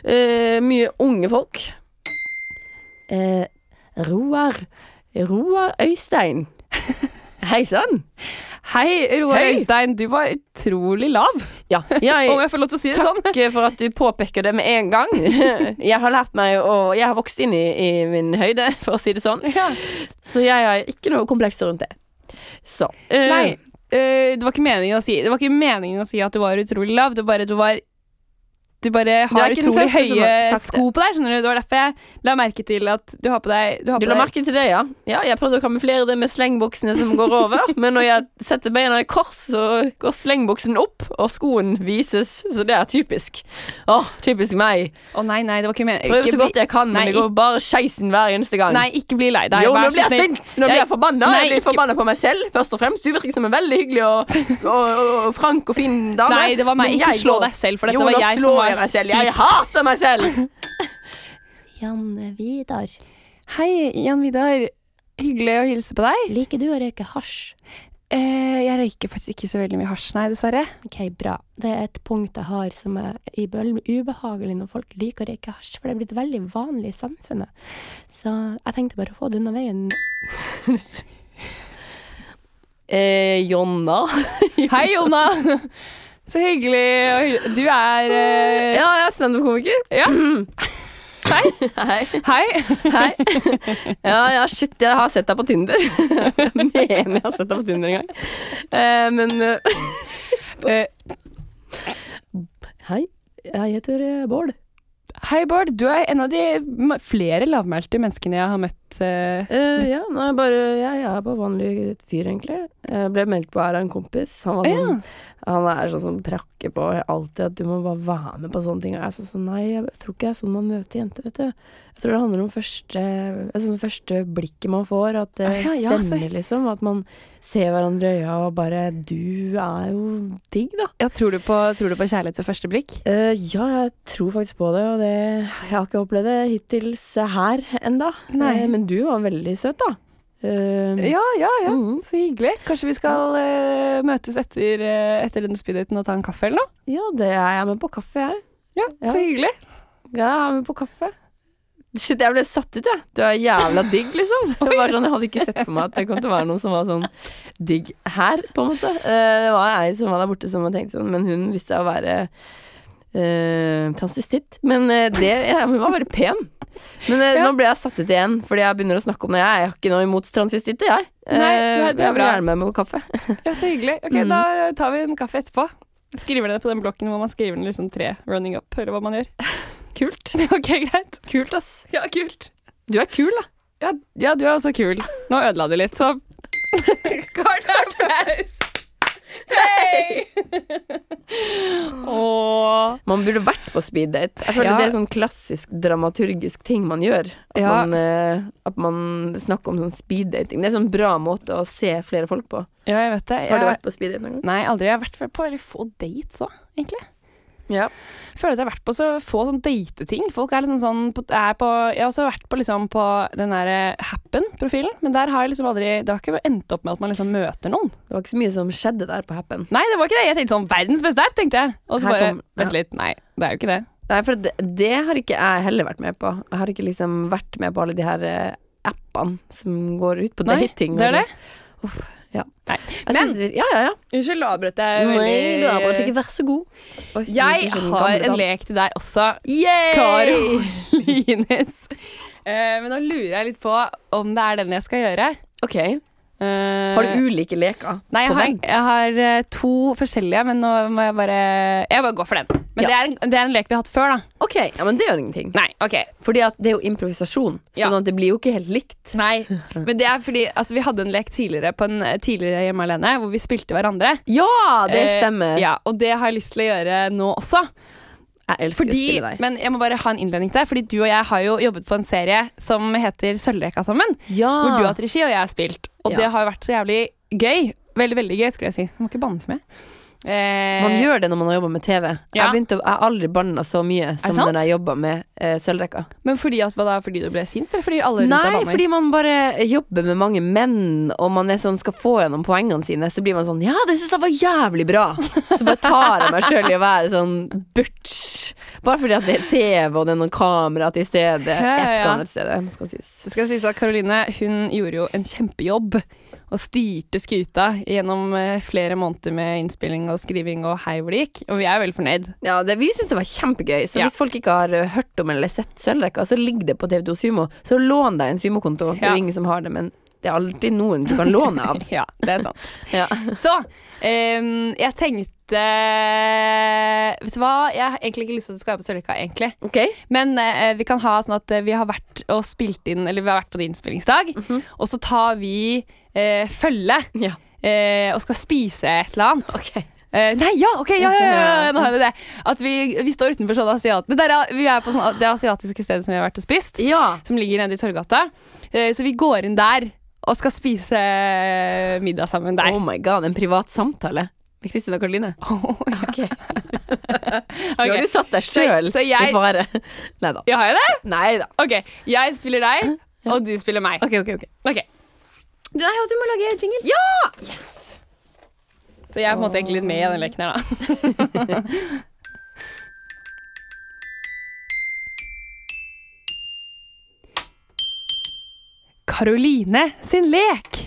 [SPEAKER 2] eh, mye unge folk. Eh, Roar Roar Øystein. Hei sann!
[SPEAKER 1] Hei, Roar
[SPEAKER 2] Hei.
[SPEAKER 1] Øystein. Du var utrolig lav,
[SPEAKER 2] Ja, jeg
[SPEAKER 1] om jeg får lov til å si det sånn.
[SPEAKER 2] Takk for at du påpeker det med en gang. Jeg har lært meg å Jeg har vokst inn i, i min høyde, for å si det sånn.
[SPEAKER 1] Ja.
[SPEAKER 2] Så jeg har ikke noe komplekser rundt det. Så eh,
[SPEAKER 1] Nei, eh, det, var ikke meningen å si, det var ikke meningen å si at du var utrolig lav. Det var bare du var Du bare har
[SPEAKER 2] ikke den
[SPEAKER 1] utrolig
[SPEAKER 2] første som har
[SPEAKER 1] høye
[SPEAKER 2] sagt det.
[SPEAKER 1] sko på deg, skjønner du. Det var derfor jeg la merke til at du har på deg har
[SPEAKER 2] Du
[SPEAKER 1] på
[SPEAKER 2] la
[SPEAKER 1] deg-
[SPEAKER 2] merke til det, ja? Ja, jeg prøvde å kamuflere det med slengboksene som går over, men når jeg setter beina i kors, så går slengboksen opp, og skoen vises, så det er typisk. Åh, typisk meg.
[SPEAKER 1] Å nei, nei, det var ikke meningen.
[SPEAKER 2] Prøver så godt jeg kan, men
[SPEAKER 1] Nei,
[SPEAKER 2] det går bare skeisen hver eneste gang.
[SPEAKER 1] Nei, ikke bli lei deg.
[SPEAKER 2] jo,
[SPEAKER 1] Vær så
[SPEAKER 2] nå blir jeg
[SPEAKER 1] snill.
[SPEAKER 2] sint! Nå blir jeg forbanna.
[SPEAKER 1] Nei,
[SPEAKER 2] jeg blir
[SPEAKER 1] ikke-
[SPEAKER 2] forbanna på meg selv, først og fremst. Du virker som en veldig hyggelig og, og, og frank og fin dame.
[SPEAKER 1] Nei, det var meg.
[SPEAKER 2] men
[SPEAKER 1] Ikke
[SPEAKER 2] jeg
[SPEAKER 1] slå
[SPEAKER 2] går-
[SPEAKER 1] deg selv, for dette
[SPEAKER 2] Jo,
[SPEAKER 1] var
[SPEAKER 2] nå
[SPEAKER 1] jeg som
[SPEAKER 2] slår
[SPEAKER 1] var
[SPEAKER 2] jeg meg selv. Jeg hater meg selv!
[SPEAKER 3] Janne Vidar,
[SPEAKER 1] Hei, Jan Vidar. Hyggelig å hilse på deg.
[SPEAKER 3] liker du å røyke hasj?
[SPEAKER 1] eh, jeg røyker faktisk ikke så veldig mye hasj, nei, dessverre.
[SPEAKER 3] Ok, bra. Det er et punkt jeg har som er i veldig ubehagelig når folk liker å røyke hasj, for det er blitt veldig vanlig i samfunnet. Så jeg tenkte bare å få det unna veien.
[SPEAKER 2] Eh, Jonna.
[SPEAKER 1] Hei, Jonna! Så hyggelig. og hy- Du er eh,
[SPEAKER 2] Ja, jeg er standup-komiker.
[SPEAKER 1] Ja. Hei.
[SPEAKER 2] Hei.
[SPEAKER 1] Hei.
[SPEAKER 2] Hei. Ja, ja, shit, jeg har sett deg på Tinder. Jeg mener jeg har sett deg på Tinder en gang. Eh, men eh,
[SPEAKER 1] Eh,
[SPEAKER 3] Hei, jeg heter eh, Bård.
[SPEAKER 1] hei, Bård. Du er en av de ma- flere lavmælte menneskene jeg har møtt. eh.
[SPEAKER 2] eh, ja, nå er jeg bare ja, Jeg er bare vanlig fyr, egentlig. Jeg ble meldt på her av en kompis. Han, var
[SPEAKER 1] Å,
[SPEAKER 2] sånn, han er sånn som prakker på alltid at du må bare være med på sånne ting. Og jeg sa sånn Nei, jeg tror ikke det er sånn man møter jenter, vet du. Jeg tror det handler om første, altså, sånn første blikket man får, at det
[SPEAKER 1] Ah, ja, ja, så-
[SPEAKER 2] stemmer, liksom. At man ser hverandre i øya og bare Du er jo digg, da.
[SPEAKER 1] Ja, tror, du på, tror du på kjærlighet ved første blikk?
[SPEAKER 2] Eh, ja, jeg tror faktisk på det, og det, jeg har ikke opplevd det hittils her enda.
[SPEAKER 1] Nei.
[SPEAKER 2] Eh, men du var veldig søt, da. Eh,
[SPEAKER 1] Ja, ja, ja.
[SPEAKER 2] mm.
[SPEAKER 1] Så hyggelig. Kanskje vi skal eh, møtes etter, eh, etter denne speeddaten og ta en kaffe eller noe?
[SPEAKER 2] ja, det er jeg er med på kaffe, jeg.
[SPEAKER 1] Ja,
[SPEAKER 2] Ja.
[SPEAKER 1] så hyggelig.
[SPEAKER 2] Ja, jeg er med på kaffe. Shit, jeg ble satt ut, jeg. Du er jævla digg, liksom. Det var sånn, jeg hadde ikke sett for meg at det kom til å være noen som var sånn digg her, på en måte. Eh, det var ei som var der borte som hadde tenkt sånn, men hun visste å være eh, transvestitt. Men eh, det, ja, hun var bare pen. Men eh,
[SPEAKER 1] Ja.
[SPEAKER 2] nå ble jeg satt ut igjen, fordi jeg begynner å snakke om det. Jeg har ikke noe imot transvestitter, jeg. Eh,
[SPEAKER 1] Nei, nei, det er
[SPEAKER 2] jeg vil
[SPEAKER 1] bra.
[SPEAKER 2] gjerne med meg på kaffe.
[SPEAKER 1] Ja, så hyggelig. Ok,
[SPEAKER 2] Mm.
[SPEAKER 1] da tar vi en kaffe etterpå. Skriver ned på den blokken hvor man skriver ned liksom tre running up, eller hva man gjør.
[SPEAKER 2] Kult.
[SPEAKER 1] Ok, greit.
[SPEAKER 2] Kult, ass.
[SPEAKER 1] Ja, kult.
[SPEAKER 2] Du er kul, da.
[SPEAKER 1] Ja, ja, du er også kul. Nå ødela du litt, så Kort applaus! Hei! Åh.
[SPEAKER 2] Man burde vært på speeddate. Jeg føler
[SPEAKER 1] Ja.
[SPEAKER 2] det er sånn klassisk dramaturgisk ting man gjør. At,
[SPEAKER 1] Ja.
[SPEAKER 2] man, eh, at man snakker om sånn speeddating. Det er en sånn bra måte å se flere folk på.
[SPEAKER 1] Ja, jeg vet det. Jeg...
[SPEAKER 2] Har du vært på speeddate noen gang?
[SPEAKER 1] Nei, aldri. Jeg har vært på veldig få dates òg, egentlig.
[SPEAKER 2] Ja.
[SPEAKER 1] føler at jeg har vært på så få sånn dateting. Folk er liksom sånn på, er på Jeg har også vært på liksom på den derre Happen-profilen, men der har jeg liksom aldri Det har ikke endt opp med at man liksom møter noen.
[SPEAKER 2] Det var ikke så mye som skjedde der på Happen.
[SPEAKER 1] Nei, det var ikke det. Jeg tenkte sånn Verdens beste app, tenkte jeg. Og så
[SPEAKER 2] Her
[SPEAKER 1] bare
[SPEAKER 2] kom-
[SPEAKER 1] Vent litt. Nei, det er jo ikke det.
[SPEAKER 2] Nei, for det, det har ikke jeg heller vært med på. Jeg har ikke liksom vært med på alle de her eh, appene som går ut på
[SPEAKER 1] Nei,
[SPEAKER 2] dating.
[SPEAKER 1] det er det.
[SPEAKER 2] ja.
[SPEAKER 1] Nei,
[SPEAKER 2] Jeg
[SPEAKER 1] men-
[SPEAKER 2] synes det- ja, ja, ja.
[SPEAKER 1] Unnskyld, avbrøt jeg veldig
[SPEAKER 2] vær så god. Oi,
[SPEAKER 1] Jeg
[SPEAKER 2] unnskyld, den sånn gamle
[SPEAKER 1] har en
[SPEAKER 2] damen.
[SPEAKER 1] lek til deg også.
[SPEAKER 2] Yay!
[SPEAKER 1] Karolines. Eh, men nå lurer jeg litt på om det er den jeg skal gjøre.
[SPEAKER 2] Ok.
[SPEAKER 1] Eh,
[SPEAKER 2] Har du ulike leker?
[SPEAKER 1] Nei, jeg
[SPEAKER 2] på
[SPEAKER 1] har,
[SPEAKER 2] vegg?
[SPEAKER 1] jeg har eh, to forskjellige, men nå må jeg bare Jeg bare går for den. Men
[SPEAKER 2] Ja.
[SPEAKER 1] det, er en, det er en lek vi har hatt før, da.
[SPEAKER 2] Ok, ja, men det gjør ingenting.
[SPEAKER 1] Nei, ok.
[SPEAKER 2] Fordi at det er jo improvisasjon,
[SPEAKER 1] Ja.
[SPEAKER 2] sånn at det blir jo ikke helt likt.
[SPEAKER 1] Nei. Men det er fordi at vi hadde en lek tidligere på en eh, tidligere Hjemme alene, hvor vi spilte hverandre.
[SPEAKER 2] Ja, det
[SPEAKER 1] Eh,
[SPEAKER 2] stemmer.
[SPEAKER 1] Ja, Og det har jeg lyst til å gjøre nå også.
[SPEAKER 2] Jeg elsker
[SPEAKER 1] Fordi,
[SPEAKER 2] å spille deg.
[SPEAKER 1] men jeg må bare ha en innvending til deg, fordi du og jeg har jo jobbet på en serie som heter Sølvreka sammen.
[SPEAKER 2] Ja.
[SPEAKER 1] Hvor du har hatt regi, og jeg har spilt. Og
[SPEAKER 2] Ah. Ja.
[SPEAKER 1] det har jo vært så jævlig gøy. Veldig, veldig gøy, skulle jeg si. Jeg må ikke banne så mye. Eh,
[SPEAKER 2] Man gjør det når man har jobba med TV.
[SPEAKER 1] Ja.
[SPEAKER 2] Jeg, begynte, å- jeg har aldri banna så mye som
[SPEAKER 1] sant?
[SPEAKER 2] når jeg jobba med eh, Sølvrekka.
[SPEAKER 1] Men fordi at, hva da, fordi du ble sint, eller fordi alle rundt deg
[SPEAKER 2] Nei,
[SPEAKER 1] banner?
[SPEAKER 2] fordi man bare jobber med mange menn, og man er sånn, skal få gjennom poengene sine, så blir man sånn Ja, det syns jeg var jævlig bra! Så bare tar jeg meg sjøl i å være sånn butch. Bare fordi at det er TV, og det er noen kamera til stede.
[SPEAKER 1] ja,
[SPEAKER 2] Et
[SPEAKER 1] ja.
[SPEAKER 2] kamera til stede, skal sies.
[SPEAKER 1] Det skal sies at Karoline hun gjorde jo en kjempejobb og styrte skuta gjennom eh, flere måneder med innspilling og skriving og hei hvor det gikk. Og vi er veldig fornøyd.
[SPEAKER 2] Ja, det, Vi syns det var kjempegøy. Så
[SPEAKER 1] Ja.
[SPEAKER 2] hvis folk ikke har eh, hørt om eller sett Sølvrekka, så ligger det på TV2 Sumo. Så lån deg en Sumo-konto. Det er
[SPEAKER 1] Ja.
[SPEAKER 2] jo ingen som har det, men det er alltid noen du kan låne av.
[SPEAKER 1] Ja, det er sant.
[SPEAKER 2] Ja.
[SPEAKER 1] Så em, jeg tenkte Vet du hva, jeg har egentlig ikke lyst til at det skal være på Sørløkka, egentlig.
[SPEAKER 2] Ok?
[SPEAKER 1] Men eh, vi kan ha sånn at eh, vi har vært og spilt inn Eller vi har vært på din innspillingsdag,
[SPEAKER 2] Mhm.
[SPEAKER 1] og så tar vi eh, følge
[SPEAKER 2] Ja.
[SPEAKER 1] eh, og skal spise et eller annet.
[SPEAKER 2] Ok.
[SPEAKER 1] Eh, nei, ja, ok, ja, ja, ja, ja, nå har vi det. At vi, vi står utenfor sånne asiat... Det, der, er- vi er på sånne, det asiatiske stedet som vi har vært og spist,
[SPEAKER 2] Ja.
[SPEAKER 1] som ligger nede i Torgata. Eh, så vi går inn der og skal spise eh, middag sammen der.
[SPEAKER 2] Oh my god, en privat samtale med Kristin og Karoline. Oh, Ok.
[SPEAKER 1] Ok.
[SPEAKER 2] Nå har du satt deg sjøl
[SPEAKER 1] Så- så jeg-
[SPEAKER 2] i fare. Nei da.
[SPEAKER 1] Ja, har jeg det?
[SPEAKER 2] Nei da.
[SPEAKER 1] Ok, jeg spiller deg, og du spiller meg.
[SPEAKER 2] Ok, ok, ok.
[SPEAKER 1] Ok. Du, nei, du må lage jingle.
[SPEAKER 2] Ja!
[SPEAKER 1] Yes! Så jeg er på en måte egentlig litt med i den leken her, da. Karoline sin lek.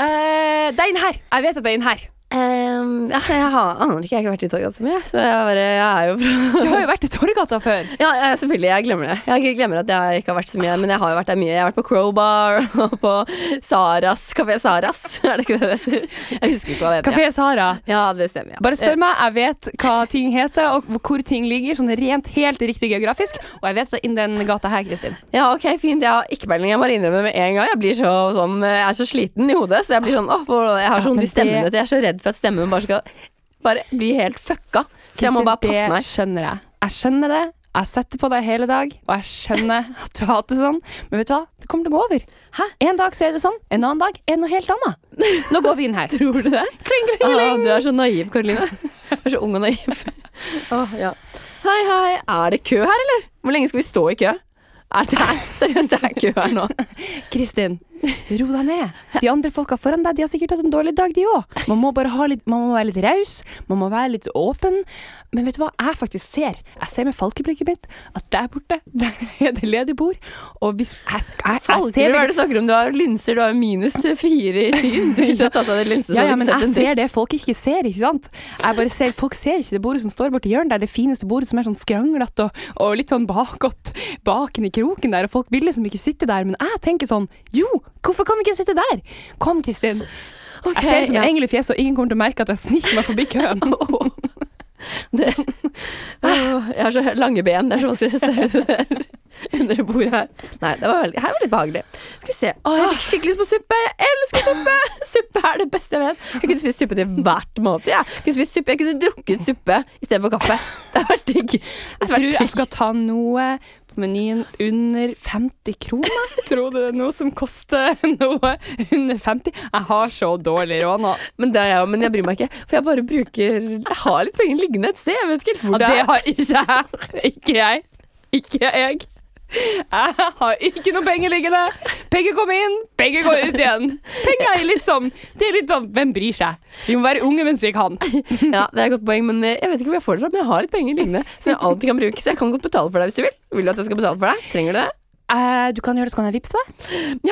[SPEAKER 1] Eh, det er inn her. Jeg vet at det er inn her.
[SPEAKER 2] Ehm, ja, jeg har, aner ikke, jeg har ikke vært i Torgata så mye, så jeg, bare, jeg er jo fra
[SPEAKER 1] Du har jo vært i Torgata før.
[SPEAKER 2] Ja, jeg- selvfølgelig, jeg glemmer det. Jeg glemmer at jeg ikke har vært så mye, men jeg har jo vært der mye. Jeg har vært på Crowbar og på Saras, Kafé Saras, er det ikke det det heter? Jeg husker ikke hva det heter.
[SPEAKER 1] Kafé Sara.
[SPEAKER 2] Ja, det stemmer. Ja.
[SPEAKER 1] Bare spør meg. Jeg vet hva ting heter, og hvor ting ligger, sånn rent helt riktig geografisk. Og jeg vet det er inn den gata her, Kristin.
[SPEAKER 2] Ja, ok, fint. Jeg har ikke peiling. Jeg bare innrømmer det med en gang. Jeg, blir så, sånn, jeg er så sliten i hodet, så jeg blir sånn åh, hvor- Jeg har
[SPEAKER 1] Ja,
[SPEAKER 2] så vondt
[SPEAKER 1] men
[SPEAKER 2] i stemmen.
[SPEAKER 1] det-
[SPEAKER 2] vet du. Jeg er så redd for at stemmen bare skal Bare bli helt fucka. Så jeg må
[SPEAKER 1] Kristin,
[SPEAKER 2] bare passe meg.
[SPEAKER 1] Det skjønner jeg. Jeg skjønner det. Jeg har sett det på deg hele dag, og jeg skjønner at du har hatt det sånn. Men vet du hva? Det kommer til å gå over.
[SPEAKER 2] Hæ?
[SPEAKER 1] En dag så er det sånn, en annen dag er det noe helt annet. Nå går vi inn her.
[SPEAKER 2] Tror du det?
[SPEAKER 1] Kling, kling,
[SPEAKER 2] Åh,
[SPEAKER 1] kling.
[SPEAKER 2] du er så naiv, Karoline. Du er så ung og naiv. Åh, ja. Hei, hei. Er det kø her, eller? Hvor lenge skal vi stå i kø? Er det her? Seriøst, det er kø her nå.
[SPEAKER 1] Kristin, ro deg ned. De andre folka foran deg de har sikkert hatt en dårlig dag, de òg. Man må bare ha litt, man må være litt raus, man må være litt åpen. Men vet du hva jeg faktisk ser? Jeg ser med falkeblikket mitt at der borte, der er det ledig bord. Og hvis jeg, jeg, jeg, jeg
[SPEAKER 2] Falker,
[SPEAKER 1] ser
[SPEAKER 2] hva
[SPEAKER 1] det
[SPEAKER 2] er det du snakker om? Du har linser, du har minus fire i syn. Du har ikke tatt av deg linser.
[SPEAKER 1] Ja, ja, men jeg ser det folk ikke ser, ikke sant? Jeg bare ser, folk ser ikke det bordet som står borti hjørnet. Det er det fineste bordet som er sånn skranglete og, og litt sånn bakåt, baken i kroken der. Og folk vil liksom ikke sitte der, men jeg tenker sånn, jo, hvorfor kan vi ikke sitte der? Kom, Kristin. Jeg ser ut som en
[SPEAKER 2] ja.
[SPEAKER 1] engel i fjeset, og ingen kommer til å merke at jeg sniker meg forbi køen.
[SPEAKER 2] Åh, Jeg har så lange ben, det er så vanskelig å se ut der. Under det bordet her. Nei, det var veldig, her var litt behagelig. Skal vi se. Å, jeg fikk skikkelig lyst på suppe! Jeg elsker suppe! Suppe er det beste jeg vet. Jeg kunne spist suppe til hvert måltid. Jeg kunne spist suppe, jeg kunne drukket suppe istedenfor kaffe. Det har vært digg.
[SPEAKER 1] Jeg tror jeg skal ta noe på menyen under 50 kroner. Tror du det er noe som koster noe under 50? Jeg har så dårlig råd nå.
[SPEAKER 2] Men det er jeg òg, men jeg bryr meg ikke. For jeg bare bruker Jeg har litt penger liggende et sted, jeg vet ikke helt hvor
[SPEAKER 1] Ja,
[SPEAKER 2] det
[SPEAKER 1] det
[SPEAKER 2] er.
[SPEAKER 1] har ikke jeg. Ikke jeg. Ikke jeg. Jeg har ikke noe penger liggende. Penger kommer inn, penger går ut igjen. Penger er litt sånn Det er litt sånn Hvem bryr seg? Vi må være unge mens vi kan.
[SPEAKER 2] Ja, det er et godt poeng, men eh, jeg vet ikke hvor jeg får det fra. Men jeg har litt penger liggende som jeg alltid kan bruke, så jeg kan godt betale for deg hvis du vil. Vil du at jeg skal betale for deg? Trenger du det?
[SPEAKER 1] Eh, du kan gjøre det, så kan jeg vippse deg.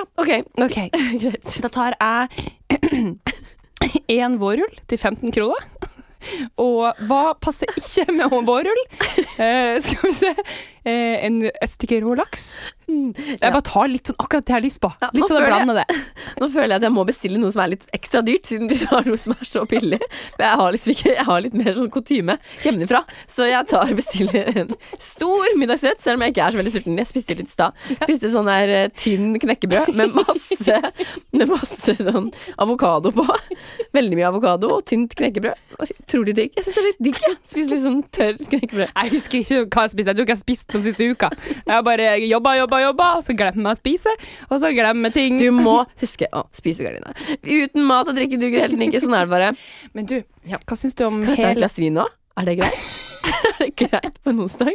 [SPEAKER 2] Ja, OK.
[SPEAKER 1] Ok,
[SPEAKER 2] Greit.
[SPEAKER 1] Da tar jeg én vårrull til 15 kroner. Og hva passer ikke med en vårrull? Eh, skal vi se eh, en, Et stykke rå laks. Jeg bare tar litt sånn akkurat det jeg har lyst på.
[SPEAKER 2] Mm, Ja,
[SPEAKER 1] Litt
[SPEAKER 2] nå
[SPEAKER 1] sånn jeg
[SPEAKER 2] føler jeg-
[SPEAKER 1] blander det.
[SPEAKER 2] Nå føler jeg at jeg må bestille noe som er litt ekstra dyrt, siden du har noe som er så billig. Men jeg har liksom ikke Jeg har litt mer sånn kutyme hjemmefra, så jeg tar og bestiller en stor middagsrett, selv om jeg ikke er så veldig sulten. Jeg spiste jo litt i stad. Spiste sånn der eh, tynn knekkebrød med masse, med masse sånn avokado på. Veldig mye avokado og tynt knekkebrød. Utrolig digg. Jeg syns det er litt digg, jeg. Spise litt sånn tørr knekkebrød.
[SPEAKER 1] Jeg husker ikke hva jeg spiste. Jeg tror ikke jeg har spist den siste uka. Jeg har bare jobba, jobba, jobba, og så glemmer jeg å spise. Og så glemmer jeg ting.
[SPEAKER 2] Du må huske å spise gardina. Uten mat og drikke duger helten ikke. Sånn er det bare.
[SPEAKER 1] Men du, hva syns du om
[SPEAKER 2] Kan jeg ta et
[SPEAKER 1] hele
[SPEAKER 2] glass vin nå? Er det greit? er det greit på en onsdag?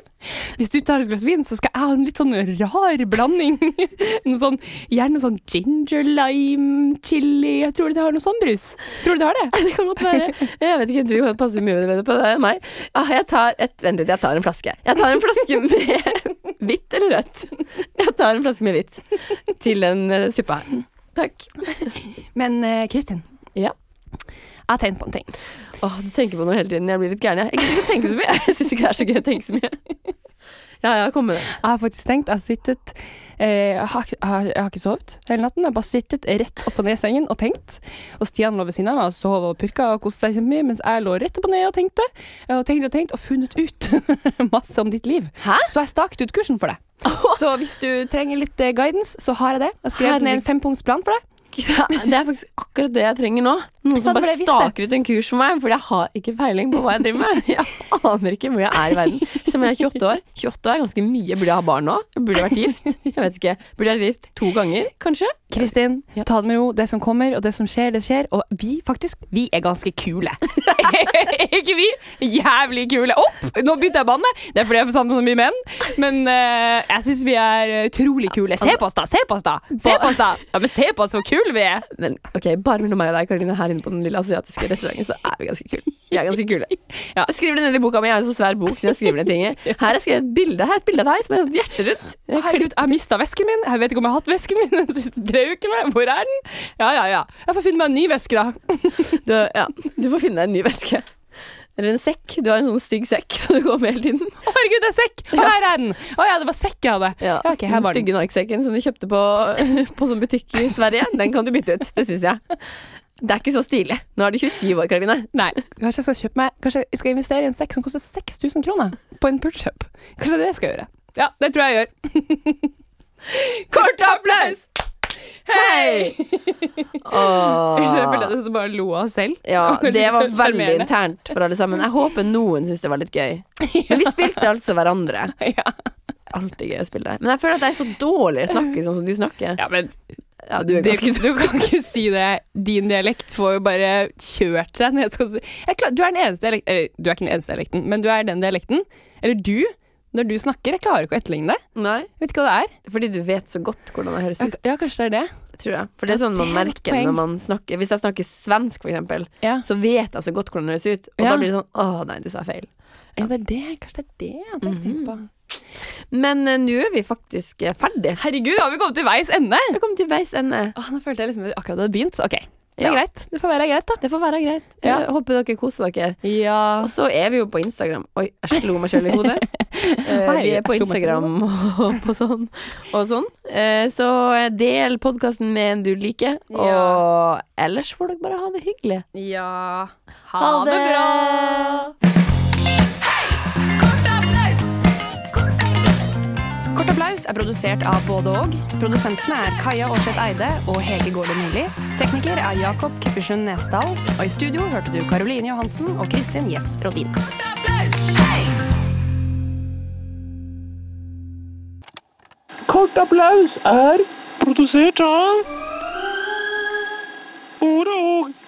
[SPEAKER 1] Hvis du tar et glass vin, så skal jeg ha en litt sånn rar blanding. En sånn, gjerne sånn ginger lime chili. Jeg tror du det har noe sånn brus? Tror du det har det?
[SPEAKER 2] Det kan godt være. Jeg vet ikke, du passer mye bedre på det enn meg. Ah, jeg tar et, vent litt, jeg tar en flaske. Jeg tar en flaske med hvitt eller rødt. Jeg tar en flaske med hvitt til den eh, suppa her. Takk.
[SPEAKER 1] Men eh, Kristin,
[SPEAKER 2] Ja.
[SPEAKER 1] jeg har tenkt på en ting.
[SPEAKER 2] Åh, du tenker på noe hele tiden. Jeg blir litt gæren. Jeg Jeg kan ikke tenke så mye. Jeg syns ikke det er så gøy å tenke så mye. Ja, ja, kom med det.
[SPEAKER 1] Jeg har faktisk tenkt, jeg har sittet eh, jeg, har, jeg har- jeg har ikke sovet hele natten. Jeg har bare sittet rett opp og ned i sengen og tenkt. Og Stian lå ved siden av meg og sov og purka og koste seg kjempemye, mens jeg lå rett opp og ned og tenkte. Og tenkte og tenkte og funnet ut masse om ditt liv.
[SPEAKER 2] Hæ?
[SPEAKER 1] Så jeg staket ut kursen for deg. Så hvis du trenger litt eh, guidance, så har jeg det. Jeg har skrevet ned en
[SPEAKER 2] Herregud.
[SPEAKER 1] fempunktsplan for deg.
[SPEAKER 2] Det er faktisk akkurat det jeg trenger nå. Noen
[SPEAKER 1] Sant,
[SPEAKER 2] som bare
[SPEAKER 1] for jeg visste.
[SPEAKER 2] staker ut en kurs for meg, for jeg har ikke peiling på hva jeg driver med. Jeg aner ikke hvor jeg er i verden. Selv om jeg er 28 år. 28 år er ganske mye. Burde jeg ha barn nå? Burde jeg vært gift? Jeg vet ikke. Burde jeg vært gift to ganger, kanskje?
[SPEAKER 1] Kristin,
[SPEAKER 3] Ja.
[SPEAKER 1] ta det med ro. Det som kommer, og det som skjer, det skjer. Og vi, faktisk, vi er ganske kule. ikke vi? Jævlig kule. Opp! Nå begynte jeg å banne. Det er fordi jeg er sammen med så mye menn. Men eh, jeg syns vi er utrolig kule. Se på oss, da! Se på oss, da! Se på oss, da! Ja, men se på oss, hvor kule vi er!
[SPEAKER 2] Men ok, bare mellom meg og deg, Karoline, her inne på den lille asiatiske restauranten, så er vi ganske kule. Vi er ganske kule. Ja, skriv det ned i boka mi. Jeg har en så svær bok, så jeg skriver ned ting i. Her har jeg skrevet et bilde her, er et bilde av deg som er et hjerte rundt.
[SPEAKER 1] Å, Herregud, jeg har mista vesken min. Jeg vet ikke om jeg har hatt vesken min de siste tre ukene. Hvor er den? Ja, ja, ja. Jeg får finne meg en ny veske, da.
[SPEAKER 2] Du, ja, du får finne deg en ny veske. Eller en sekk. Du har en sånn stygg sekk som du går med hele tiden.
[SPEAKER 1] Å, herregud, det er sekk! Å, her er den! Å ja, det var sekk jeg hadde. Ja, ok, her
[SPEAKER 2] den
[SPEAKER 1] var den.
[SPEAKER 2] stygge narksekken som du kjøpte på, på sånn butikk i Sverige, den kan du bytte ut. Det syns jeg. Det er ikke så stilig. Nå er du 27 år, Karoline.
[SPEAKER 1] Nei, kanskje jeg skal kjøpe meg Kanskje jeg skal investere i en sekk som koster 6000 kroner på en pulshup. Kanskje det er det jeg skal gjøre. Ja, det tror jeg jeg gjør.
[SPEAKER 2] Kort applaus! Hei!
[SPEAKER 1] Unnskyld, jeg følte at jeg bare lo av oss selv.
[SPEAKER 2] Ja,
[SPEAKER 1] Kanskje
[SPEAKER 2] det
[SPEAKER 1] ikke
[SPEAKER 2] var
[SPEAKER 1] så
[SPEAKER 2] veldig
[SPEAKER 1] sjarmerende.
[SPEAKER 2] internt for alle sammen. Jeg håper noen syntes det var litt gøy. Men vi spilte altså hverandre.
[SPEAKER 1] Ja.
[SPEAKER 2] Alltid gøy å spille. Men jeg føler at jeg er så dårlig å snakke sånn som du snakker.
[SPEAKER 1] ja, men
[SPEAKER 2] Ja, du er
[SPEAKER 1] det,
[SPEAKER 2] ganske
[SPEAKER 1] du kan ikke si det. Din dialekt får jo bare kjørt seg. Når jeg skal si. jeg klar, du er den eneste dialekten Eller, du er ikke den eneste dialekten, men du er den dialekten. Eller du, når du snakker. Jeg klarer ikke å etterligne det.
[SPEAKER 2] Nei,
[SPEAKER 1] Jeg vet ikke hva det er.
[SPEAKER 2] fordi du vet så godt hvordan jeg høres ut,
[SPEAKER 1] Ja, kanskje det er det.
[SPEAKER 2] tror jeg. For det er sånn man
[SPEAKER 1] Ja, det er et
[SPEAKER 2] merker
[SPEAKER 1] poeng.
[SPEAKER 2] når man snakker Hvis jeg snakker svensk, for eksempel,
[SPEAKER 1] Ja,
[SPEAKER 2] så vet jeg så godt hvordan det høres ut. Og
[SPEAKER 1] Ja.
[SPEAKER 2] da blir det sånn Å, nei, du sa feil.
[SPEAKER 1] ja det er det. Kanskje det er det jeg hadde tenkt på.
[SPEAKER 2] Men eh, nå er vi faktisk eh, ferdig.
[SPEAKER 1] Herregud, har vi kommet til veis ende?
[SPEAKER 2] Jeg kom til veis ende.
[SPEAKER 1] Åh, nå følte jeg liksom at akkurat det hadde begynt. Ok, det er
[SPEAKER 2] Ja.
[SPEAKER 1] greit. Det får være greit, da.
[SPEAKER 2] Det får være greit.
[SPEAKER 1] Ja.
[SPEAKER 2] Jeg håper dere koser dere.
[SPEAKER 1] Ja.
[SPEAKER 2] Og så er vi jo på Instagram. Oi, jeg slo meg sjøl i hodet. Eh,
[SPEAKER 1] Oi,
[SPEAKER 2] vi er på
[SPEAKER 1] jeg slo meg selv i
[SPEAKER 2] Instagram og på sånn. Og sånn. Eh, så del podkasten med en du liker,
[SPEAKER 1] Ja.
[SPEAKER 2] og ellers får dere bare ha det hyggelig.
[SPEAKER 1] Ja. Ha,
[SPEAKER 2] Ha
[SPEAKER 1] det
[SPEAKER 2] det.
[SPEAKER 1] bra!
[SPEAKER 4] Kort applaus er produsert av både og. Produsentene er Kaja Aarseth Eide og Hege Gårde Nordli. Tekniker er Jakob Keppersund Nesdal. Og i studio hørte du Caroline Johansen og Kristin Gjess Rodin.
[SPEAKER 5] Kort applaus er produsert av Ordet og